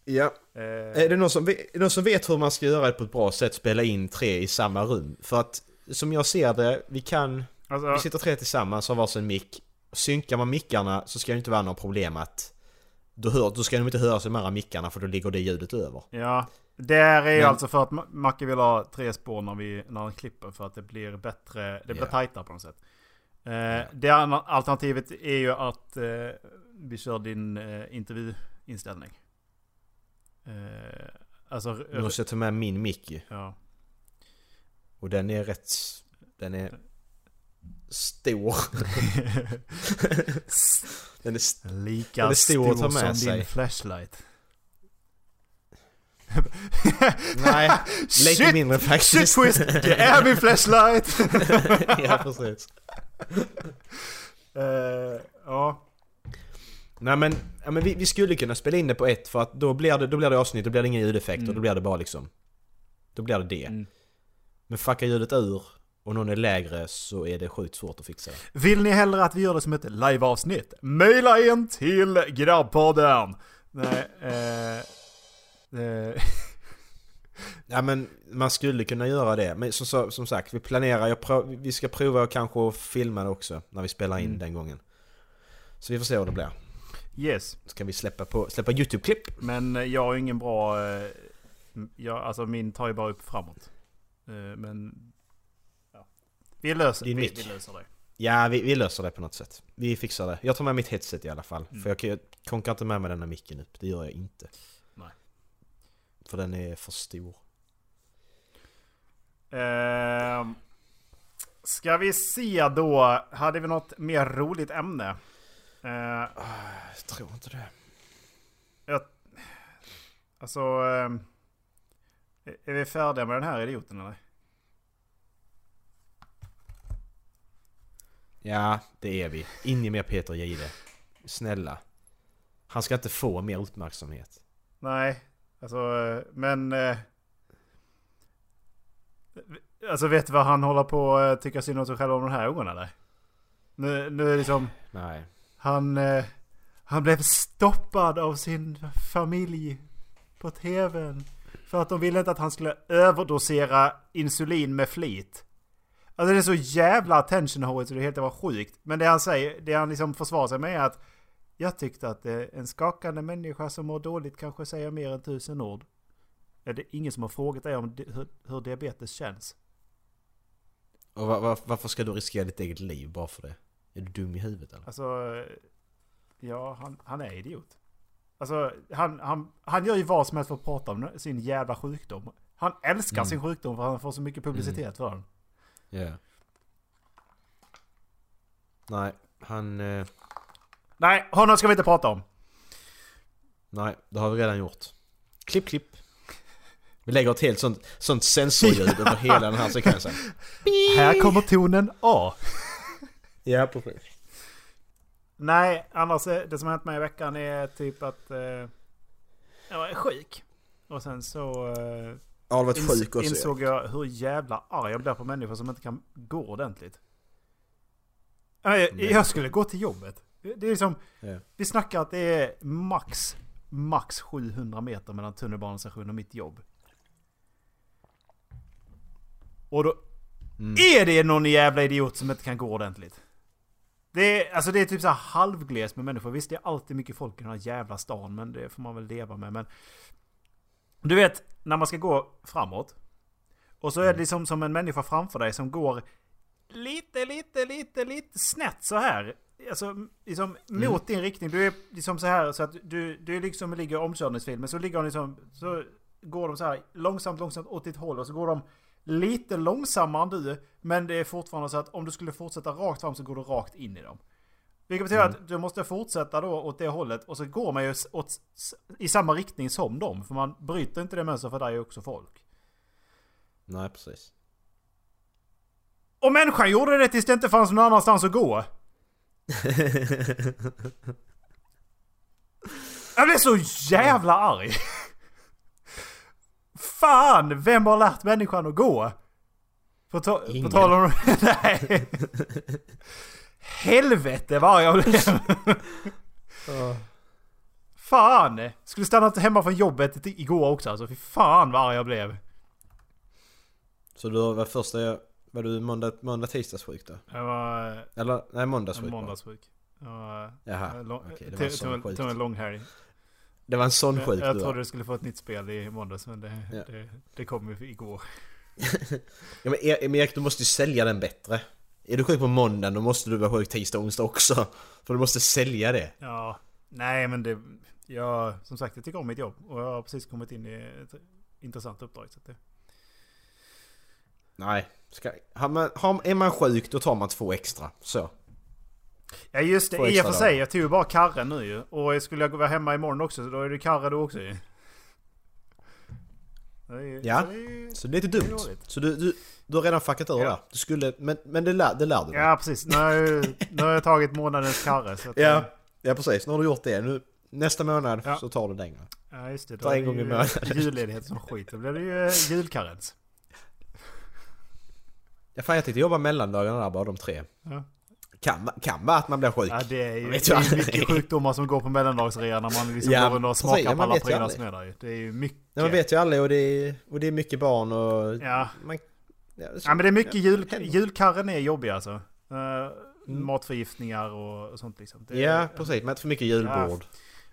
[SPEAKER 9] ja.
[SPEAKER 8] Eh,
[SPEAKER 9] Är det någon som, ve- är det någon som vet hur man ska göra det på ett bra sätt, spela in tre i samma rum? För att som jag ser det, vi kan... Vi
[SPEAKER 8] alltså,
[SPEAKER 9] sitter tre tillsammans har varsin mick. Synkar man mickarna så ska det inte vara något problem att... Då, hör, då ska de inte höras i de andra mickarna för då ligger det ljudet över.
[SPEAKER 8] ja. Det här är ju
[SPEAKER 9] Men-
[SPEAKER 8] alltså för att Ma- Macke vill ha tre spår när, vi, när han klipper för att det blir bättre, det blir
[SPEAKER 9] Ja.
[SPEAKER 8] tajtare på något sätt. Eh, Det andra alternativet är ju att eh, vi kör din eh, intervjuinställning. Eh, alltså,
[SPEAKER 9] Nu måste jag ta med min mick ju.
[SPEAKER 8] ja.
[SPEAKER 9] Och den är rätt... Den är... Stor. den är... st-
[SPEAKER 8] Lika
[SPEAKER 9] Den är stor
[SPEAKER 8] stor,
[SPEAKER 9] att ta med
[SPEAKER 8] som
[SPEAKER 9] sig.
[SPEAKER 8] din flashlight.
[SPEAKER 9] Nej, lite
[SPEAKER 8] Shit!
[SPEAKER 9] mindre faktiskt.
[SPEAKER 8] Det är min flashlight!
[SPEAKER 9] ja, precis.
[SPEAKER 8] Eh, ja.
[SPEAKER 9] Nej men, ja, men vi, vi skulle kunna spela in det på ett för att då blir det, då blir det avsnitt, då blir det inga ljudeffekter, då blir det bara liksom... Då blir det det. Men fuckar ljudet ur och någon är lägre så är det sjukt svårt att fixa det.
[SPEAKER 8] Vill ni hellre att vi gör det som ett liveavsnitt? Maila in till grabbpodden! Nej, eh, eh,
[SPEAKER 9] Ja men man skulle kunna göra det. Men som, så- som sagt, vi planerar, jag pro- vi ska prova att kanske att filma det också när vi spelar in den gången. Så vi får se hur det blir.
[SPEAKER 8] yes.
[SPEAKER 9] Så kan vi släppa, på, släppa YouTube-klipp.
[SPEAKER 8] Men jag har ingen bra... Eh, jag, alltså min tar ju bara upp framåt. Eh, men... Ja. Vi, löser, vi,
[SPEAKER 9] Din
[SPEAKER 8] vi
[SPEAKER 9] mick.
[SPEAKER 8] löser det.
[SPEAKER 9] Ja, vi, vi löser det på något sätt. Vi fixar det. Jag tar med mitt headset i alla fall. För jag, kan- jag konkar inte med mig den här micken upp. Det gör jag inte.
[SPEAKER 8] Nej.
[SPEAKER 9] För den är för stor.
[SPEAKER 8] Ehm, ska vi se då. Hade vi något mer roligt ämne? Eh,
[SPEAKER 9] Jag tror inte det.
[SPEAKER 8] alltså... ehm, är vi färdiga med den här idioten eller?
[SPEAKER 9] Ja, det är vi. In i med Peter Jihde. Snälla. Han ska inte få mer uppmärksamhet.
[SPEAKER 8] Nej, alltså eh, men... eh, Alltså vet du vad han håller på att tycka synd om sig själv om den här gången eller? Nu, nu är det liksom...
[SPEAKER 9] Nej.
[SPEAKER 8] Han, eh, han blev stoppad av sin familj på tvn. För att de ville inte att han skulle överdosera insulin med flit. Alltså det är så jävla attention horror så det helt var sjukt. Men det han säger, det han liksom försvarar sig med är att jag tyckte att eh, en skakande människa som mår dåligt kanske säger mer än tusen ord. Är det är ingen som har frågat dig om di- hur, hur diabetes känns?
[SPEAKER 9] Och va- va- varför ska du riskera ditt eget liv bara för det? Är du dum i huvudet eller?
[SPEAKER 8] Alltså, eh, ja, han, han är idiot. Alltså, han, han, han gör ju vad som helst för att prata om sin jävla sjukdom. Han älskar sin sjukdom för han får så mycket publicitet för den.
[SPEAKER 9] Ja. Nej, han... Eh,
[SPEAKER 8] Nej, honom ska vi inte prata om.
[SPEAKER 9] nej, det har vi redan gjort. Klipp, klipp. Vi lägger ett helt sånt, sånt sensorljud över hela den här sekvensen.
[SPEAKER 8] Här kommer tonen A.
[SPEAKER 9] Ja, precis.
[SPEAKER 8] Nej, annars eh, det som har hänt mig i veckan är typ att eh, jag är sjuk. Och sen så eh,
[SPEAKER 9] Ja, det var ett
[SPEAKER 8] Ins-
[SPEAKER 9] sjuk och så.
[SPEAKER 8] insåg jag hur jävla arg jag blir på människor som inte kan gå ordentligt. Nej, Jag, jag skulle gå till jobbet. Det är liksom,
[SPEAKER 9] Ja.
[SPEAKER 8] vi snackar att det är max, max 700 meter mellan tunnelbanestationen och mitt jobb. Och då är det någon jävla idiot som inte kan gå ordentligt. Det är, alltså det är typ så här halvgles med människor. Visst det är alltid mycket folk i den här jävla stan men det får man väl leva med. Men du vet när man ska gå framåt. Och så är det liksom som en människa framför dig som går lite, lite, lite, lite snett så här. Alltså liksom mot din riktning. Du är liksom så här så att du, du liksom ligger i omkörningsfil. Men så ligger de liksom, så går de så här långsamt, långsamt åt ditt håll. Och så går de lite långsammare än du. Men det är fortfarande så att om du skulle fortsätta rakt fram så går du rakt in i dem. Vilket betyder att du måste fortsätta då åt det hållet och så går man ju s- åt, s- i samma riktning som dem. För man bryter inte det mönstret för där är ju också folk.
[SPEAKER 9] Nej, precis.
[SPEAKER 8] Och människan gjorde det tills det inte fanns någon annanstans att gå. Jag blev så jävla arg! Fan! Vem har lärt människan att gå? På, ta- på
[SPEAKER 9] Ingen.
[SPEAKER 8] tal om... Nej! Helvete vad arg jag blev! Fan! Skulle stannat hemma från jobbet i- igår också alltså. Fy fan vad arg jag blev.
[SPEAKER 9] Så du var första... Var du måndag, måndag tisdagssjuk då?
[SPEAKER 8] Jag var
[SPEAKER 9] Eller nej,
[SPEAKER 8] en
[SPEAKER 9] måndagssjuk bara.
[SPEAKER 8] måndagssjuk. Jag var-
[SPEAKER 9] Jaha,
[SPEAKER 8] jag lång-
[SPEAKER 9] okej, det var
[SPEAKER 8] tog-
[SPEAKER 9] en sån
[SPEAKER 8] tog en-
[SPEAKER 9] sjuk.
[SPEAKER 8] Tog en lång helg.
[SPEAKER 9] Det var en sån
[SPEAKER 8] Jag,
[SPEAKER 9] sjuk
[SPEAKER 8] jag
[SPEAKER 9] du var.
[SPEAKER 8] trodde du skulle få ett nytt spel i måndags men det,
[SPEAKER 9] Ja.
[SPEAKER 8] det, det kom ju igår.
[SPEAKER 9] Ja, men, E- men Erik, du måste ju sälja den bättre. Är du sjuk på måndagen då måste du vara sjuk tisdag och onsdag också. För du måste sälja det.
[SPEAKER 8] Ja, nej men det... Jag, som sagt, jag tycker om mitt jobb och jag har precis kommit in i ett intressant uppdrag. Så att det,
[SPEAKER 9] Nej. Ska, har man, har, är man sjuk då tar man två extra. Så.
[SPEAKER 8] ja just det,
[SPEAKER 9] Två
[SPEAKER 8] i och
[SPEAKER 9] extra
[SPEAKER 8] för sig.
[SPEAKER 9] dagar.
[SPEAKER 8] Jag tog ju bara karre nu ju. Och skulle jag vara hemma imorgon också så då är det karre då också ju. Det är ju-
[SPEAKER 9] Ja.
[SPEAKER 8] så det är ju-
[SPEAKER 9] Så det är lite
[SPEAKER 8] Det är
[SPEAKER 9] dumt.
[SPEAKER 8] dåligt.
[SPEAKER 9] Så du, du, du har redan fuckat ur
[SPEAKER 8] Ja.
[SPEAKER 9] där. Du skulle, men, men det, lär, det lärde du dig.
[SPEAKER 8] Ja precis, nu har, jag, ju- nu har jag tagit månadens karre. Så att,
[SPEAKER 9] ja. Ja precis, nu har du gjort det. Nu, nästa månad
[SPEAKER 8] Ja.
[SPEAKER 9] så tar du den. va?
[SPEAKER 8] Ja just det, då
[SPEAKER 9] Ta
[SPEAKER 8] är
[SPEAKER 9] en
[SPEAKER 8] det
[SPEAKER 9] gång i
[SPEAKER 8] ju
[SPEAKER 9] månaden.
[SPEAKER 8] julledighet som skit. Då blir det ju eh, julkarens.
[SPEAKER 9] Ja, fan, jag tänkte jobba mellandagarna där bara de tre.
[SPEAKER 8] Ja.
[SPEAKER 9] Kan, kan vara att man blir sjuk.
[SPEAKER 8] Ja, det är ju
[SPEAKER 9] Man
[SPEAKER 8] det
[SPEAKER 9] Typ. vet ju
[SPEAKER 8] är ju
[SPEAKER 9] aldrig.
[SPEAKER 8] mycket sjukdomar som går på mellandagsrea när man liksom
[SPEAKER 9] Ja,
[SPEAKER 8] går runt och
[SPEAKER 9] precis. Ja,
[SPEAKER 8] smakar
[SPEAKER 9] man
[SPEAKER 8] på alla
[SPEAKER 9] vet ju
[SPEAKER 8] prylar
[SPEAKER 9] aldrig.
[SPEAKER 8] som är där ju. Det är ju mycket.
[SPEAKER 9] Nej, man vet ju aldrig och det, är, och det är mycket barn och...
[SPEAKER 8] Ja.
[SPEAKER 9] Man, ja, så-
[SPEAKER 8] ja, men det är mycket jul,
[SPEAKER 9] händer. Mm.
[SPEAKER 8] julkarren är jobbig alltså. Eh, Matförgiftningar och, och sånt liksom. Det,
[SPEAKER 9] Ja, precis. Men inte för mycket julbord.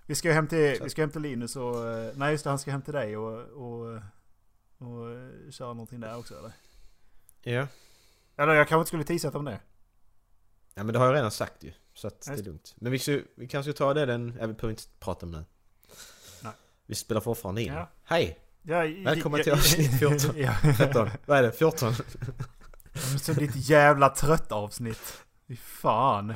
[SPEAKER 8] Vi ska ju hem till, vi ska hem till Linus och... eh, Nej just det, han ska hem till dig och, och, och, eh, köra någonting där också eller?
[SPEAKER 9] Ja.
[SPEAKER 8] Eller jag kanske inte skulle teasat om det.
[SPEAKER 9] ja, men det har jag redan sagt ju. Så att
[SPEAKER 8] Ja,
[SPEAKER 9] det
[SPEAKER 8] just
[SPEAKER 9] är lugnt. Men vi, ska, vi kanske ska ta det den... Ja, vi behöver inte prata om det.
[SPEAKER 8] Nej.
[SPEAKER 9] Vi spelar fortfarande in.
[SPEAKER 8] Ja.
[SPEAKER 9] Hej!
[SPEAKER 8] Ja,
[SPEAKER 9] Välkommen till avsnitt 14.
[SPEAKER 8] ja,
[SPEAKER 9] 13. Vad är det? 14?
[SPEAKER 8] så ditt jävla trött avsnitt. Fy fan.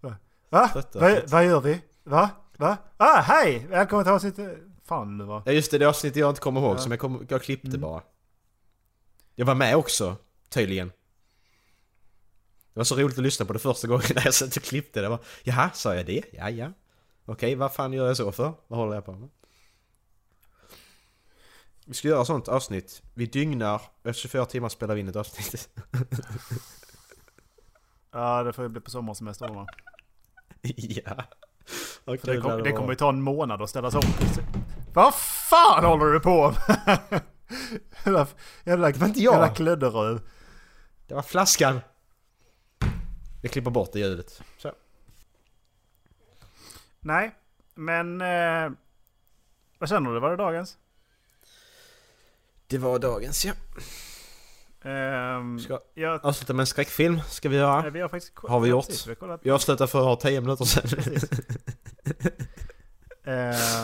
[SPEAKER 8] Va? Va?
[SPEAKER 9] Trött
[SPEAKER 8] Va?
[SPEAKER 9] avsnitt.
[SPEAKER 8] Vad gör vi? Va? Va? Ah, hej! Välkommen till avsnitt... Fan nu va?
[SPEAKER 9] Ja, just det. Det avsnittet jag inte kommer ihåg
[SPEAKER 8] Ja. Mm.
[SPEAKER 9] som jag, kom, jag klippte bara. Jag var med också, tydligen. Det var så roligt att lyssna på det första gången när jag satt och klippte. Det var jaha, sa jag det? Ja, ja. Okej, vad fan gör jag så för? Vad håller jag på med? Vi ska göra sånt avsnitt. Vi dygnar. Efter 24 timmar spelar vi in ett avsnitt.
[SPEAKER 8] Ja, det får ju bli på sommarsemester va?
[SPEAKER 9] ja. Vad
[SPEAKER 8] För det,
[SPEAKER 9] kul
[SPEAKER 8] kom,
[SPEAKER 9] hade
[SPEAKER 8] det
[SPEAKER 9] varit.
[SPEAKER 8] kommer ju ta en månad att ställas om. Vad fan håller du på med? jävla jävla,
[SPEAKER 9] var inte jag.
[SPEAKER 8] jävla klödderöv.
[SPEAKER 9] Det var flaskan! Jag klipper bort det ljudet. Så.
[SPEAKER 8] Nej, men... Eh, vad känner du? Var det dagens?
[SPEAKER 9] Det var dagens ja.
[SPEAKER 8] Ehm,
[SPEAKER 9] Ska
[SPEAKER 8] jag,
[SPEAKER 9] avsluta med en skräckfilm, ska vi göra.
[SPEAKER 8] nej, vi har faktiskt...
[SPEAKER 9] Har vi
[SPEAKER 8] ja,
[SPEAKER 9] gjort?
[SPEAKER 8] precis, vi har kollat.
[SPEAKER 9] Jag avslutade för att 10 minuter sedan.
[SPEAKER 8] Eh,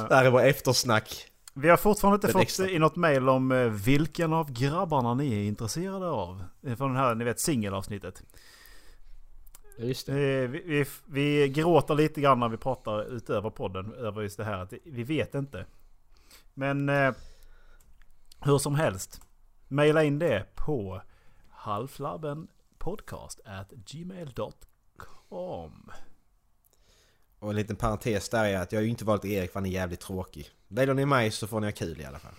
[SPEAKER 9] det här är vår eftersnack.
[SPEAKER 8] Vi har fortfarande inte
[SPEAKER 9] Det är
[SPEAKER 8] fått
[SPEAKER 9] extra.
[SPEAKER 8] i något mejl om eh, vilken av grabbarna ni är intresserade av. Eh, Från den här, ni vet, singelavsnittet.
[SPEAKER 9] Just
[SPEAKER 8] Eh, Vi, vi, vi gråter lite grann när vi pratar utöver podden över just det här att vi vet inte. Men eh, hur som helst. Mejla in det på halflabbenpodcast.gmail.com
[SPEAKER 9] Och en liten parentes där är att jag har ju inte valt Erik för han är jävligt tråkig. Väljer ni mig så får ni ha kul i alla fall.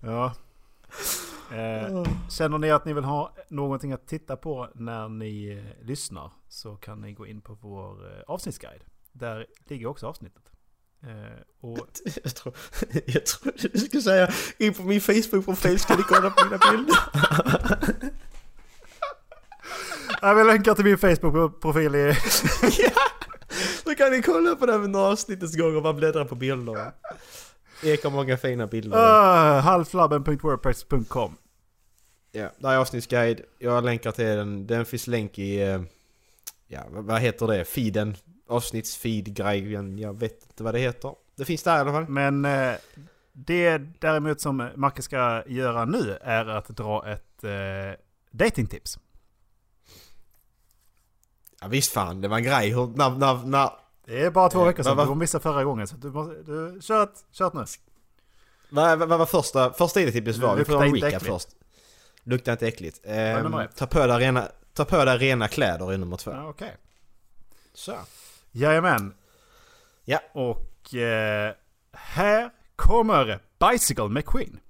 [SPEAKER 8] Ja. Eh, känner ni att ni vill ha någonting att titta på när ni eh, lyssnar så kan ni gå in på vår eh, avsnittsguide. Där ligger också avsnittet. Eh, och
[SPEAKER 9] Jag tror, jag tror du skulle säga in på min Facebook-profil ska ni kolla på mina bilder.
[SPEAKER 8] jag vill länka till min Facebook-profil i...
[SPEAKER 9] Då kan ni kolla på den under avsnittets gång och bara bläddra på bilder. Ek har många fina bilder.
[SPEAKER 8] Uh, halvflabben.wordpress.com
[SPEAKER 9] Ja, där är avsnittsguide. Jag länkar till den. Den finns länk i... eh, Ja, vad- vad heter det? Feeden? Avsnittsfeed-grejen? Jag vet inte vad det heter. Det finns där i alla fall.
[SPEAKER 8] Men eh, det däremot som Macke ska göra nu är att dra ett eh, datingtips.
[SPEAKER 9] Ja, visst fan, det var en grej. Hur, när, när, när...
[SPEAKER 8] Det är bara två
[SPEAKER 9] Eh,
[SPEAKER 8] veckor sedan,
[SPEAKER 9] vad-
[SPEAKER 8] du missade förra gången. Så du måste, du, kör, ett- kör ett nu.
[SPEAKER 9] Vad, vad, vad var första, första idetipset var? Vi får
[SPEAKER 8] Lukta
[SPEAKER 9] göra en
[SPEAKER 8] inte
[SPEAKER 9] recap
[SPEAKER 8] äckligt.
[SPEAKER 9] först. Luktar inte äckligt. Ehm,
[SPEAKER 8] nummer ett.
[SPEAKER 9] ta, på dig rena, ta på dig rena kläder är nummer två.
[SPEAKER 8] Ja, Okej.
[SPEAKER 9] Så.
[SPEAKER 8] Jajamän.
[SPEAKER 9] Ja.
[SPEAKER 8] Och eh, här kommer Bicycle McQueen.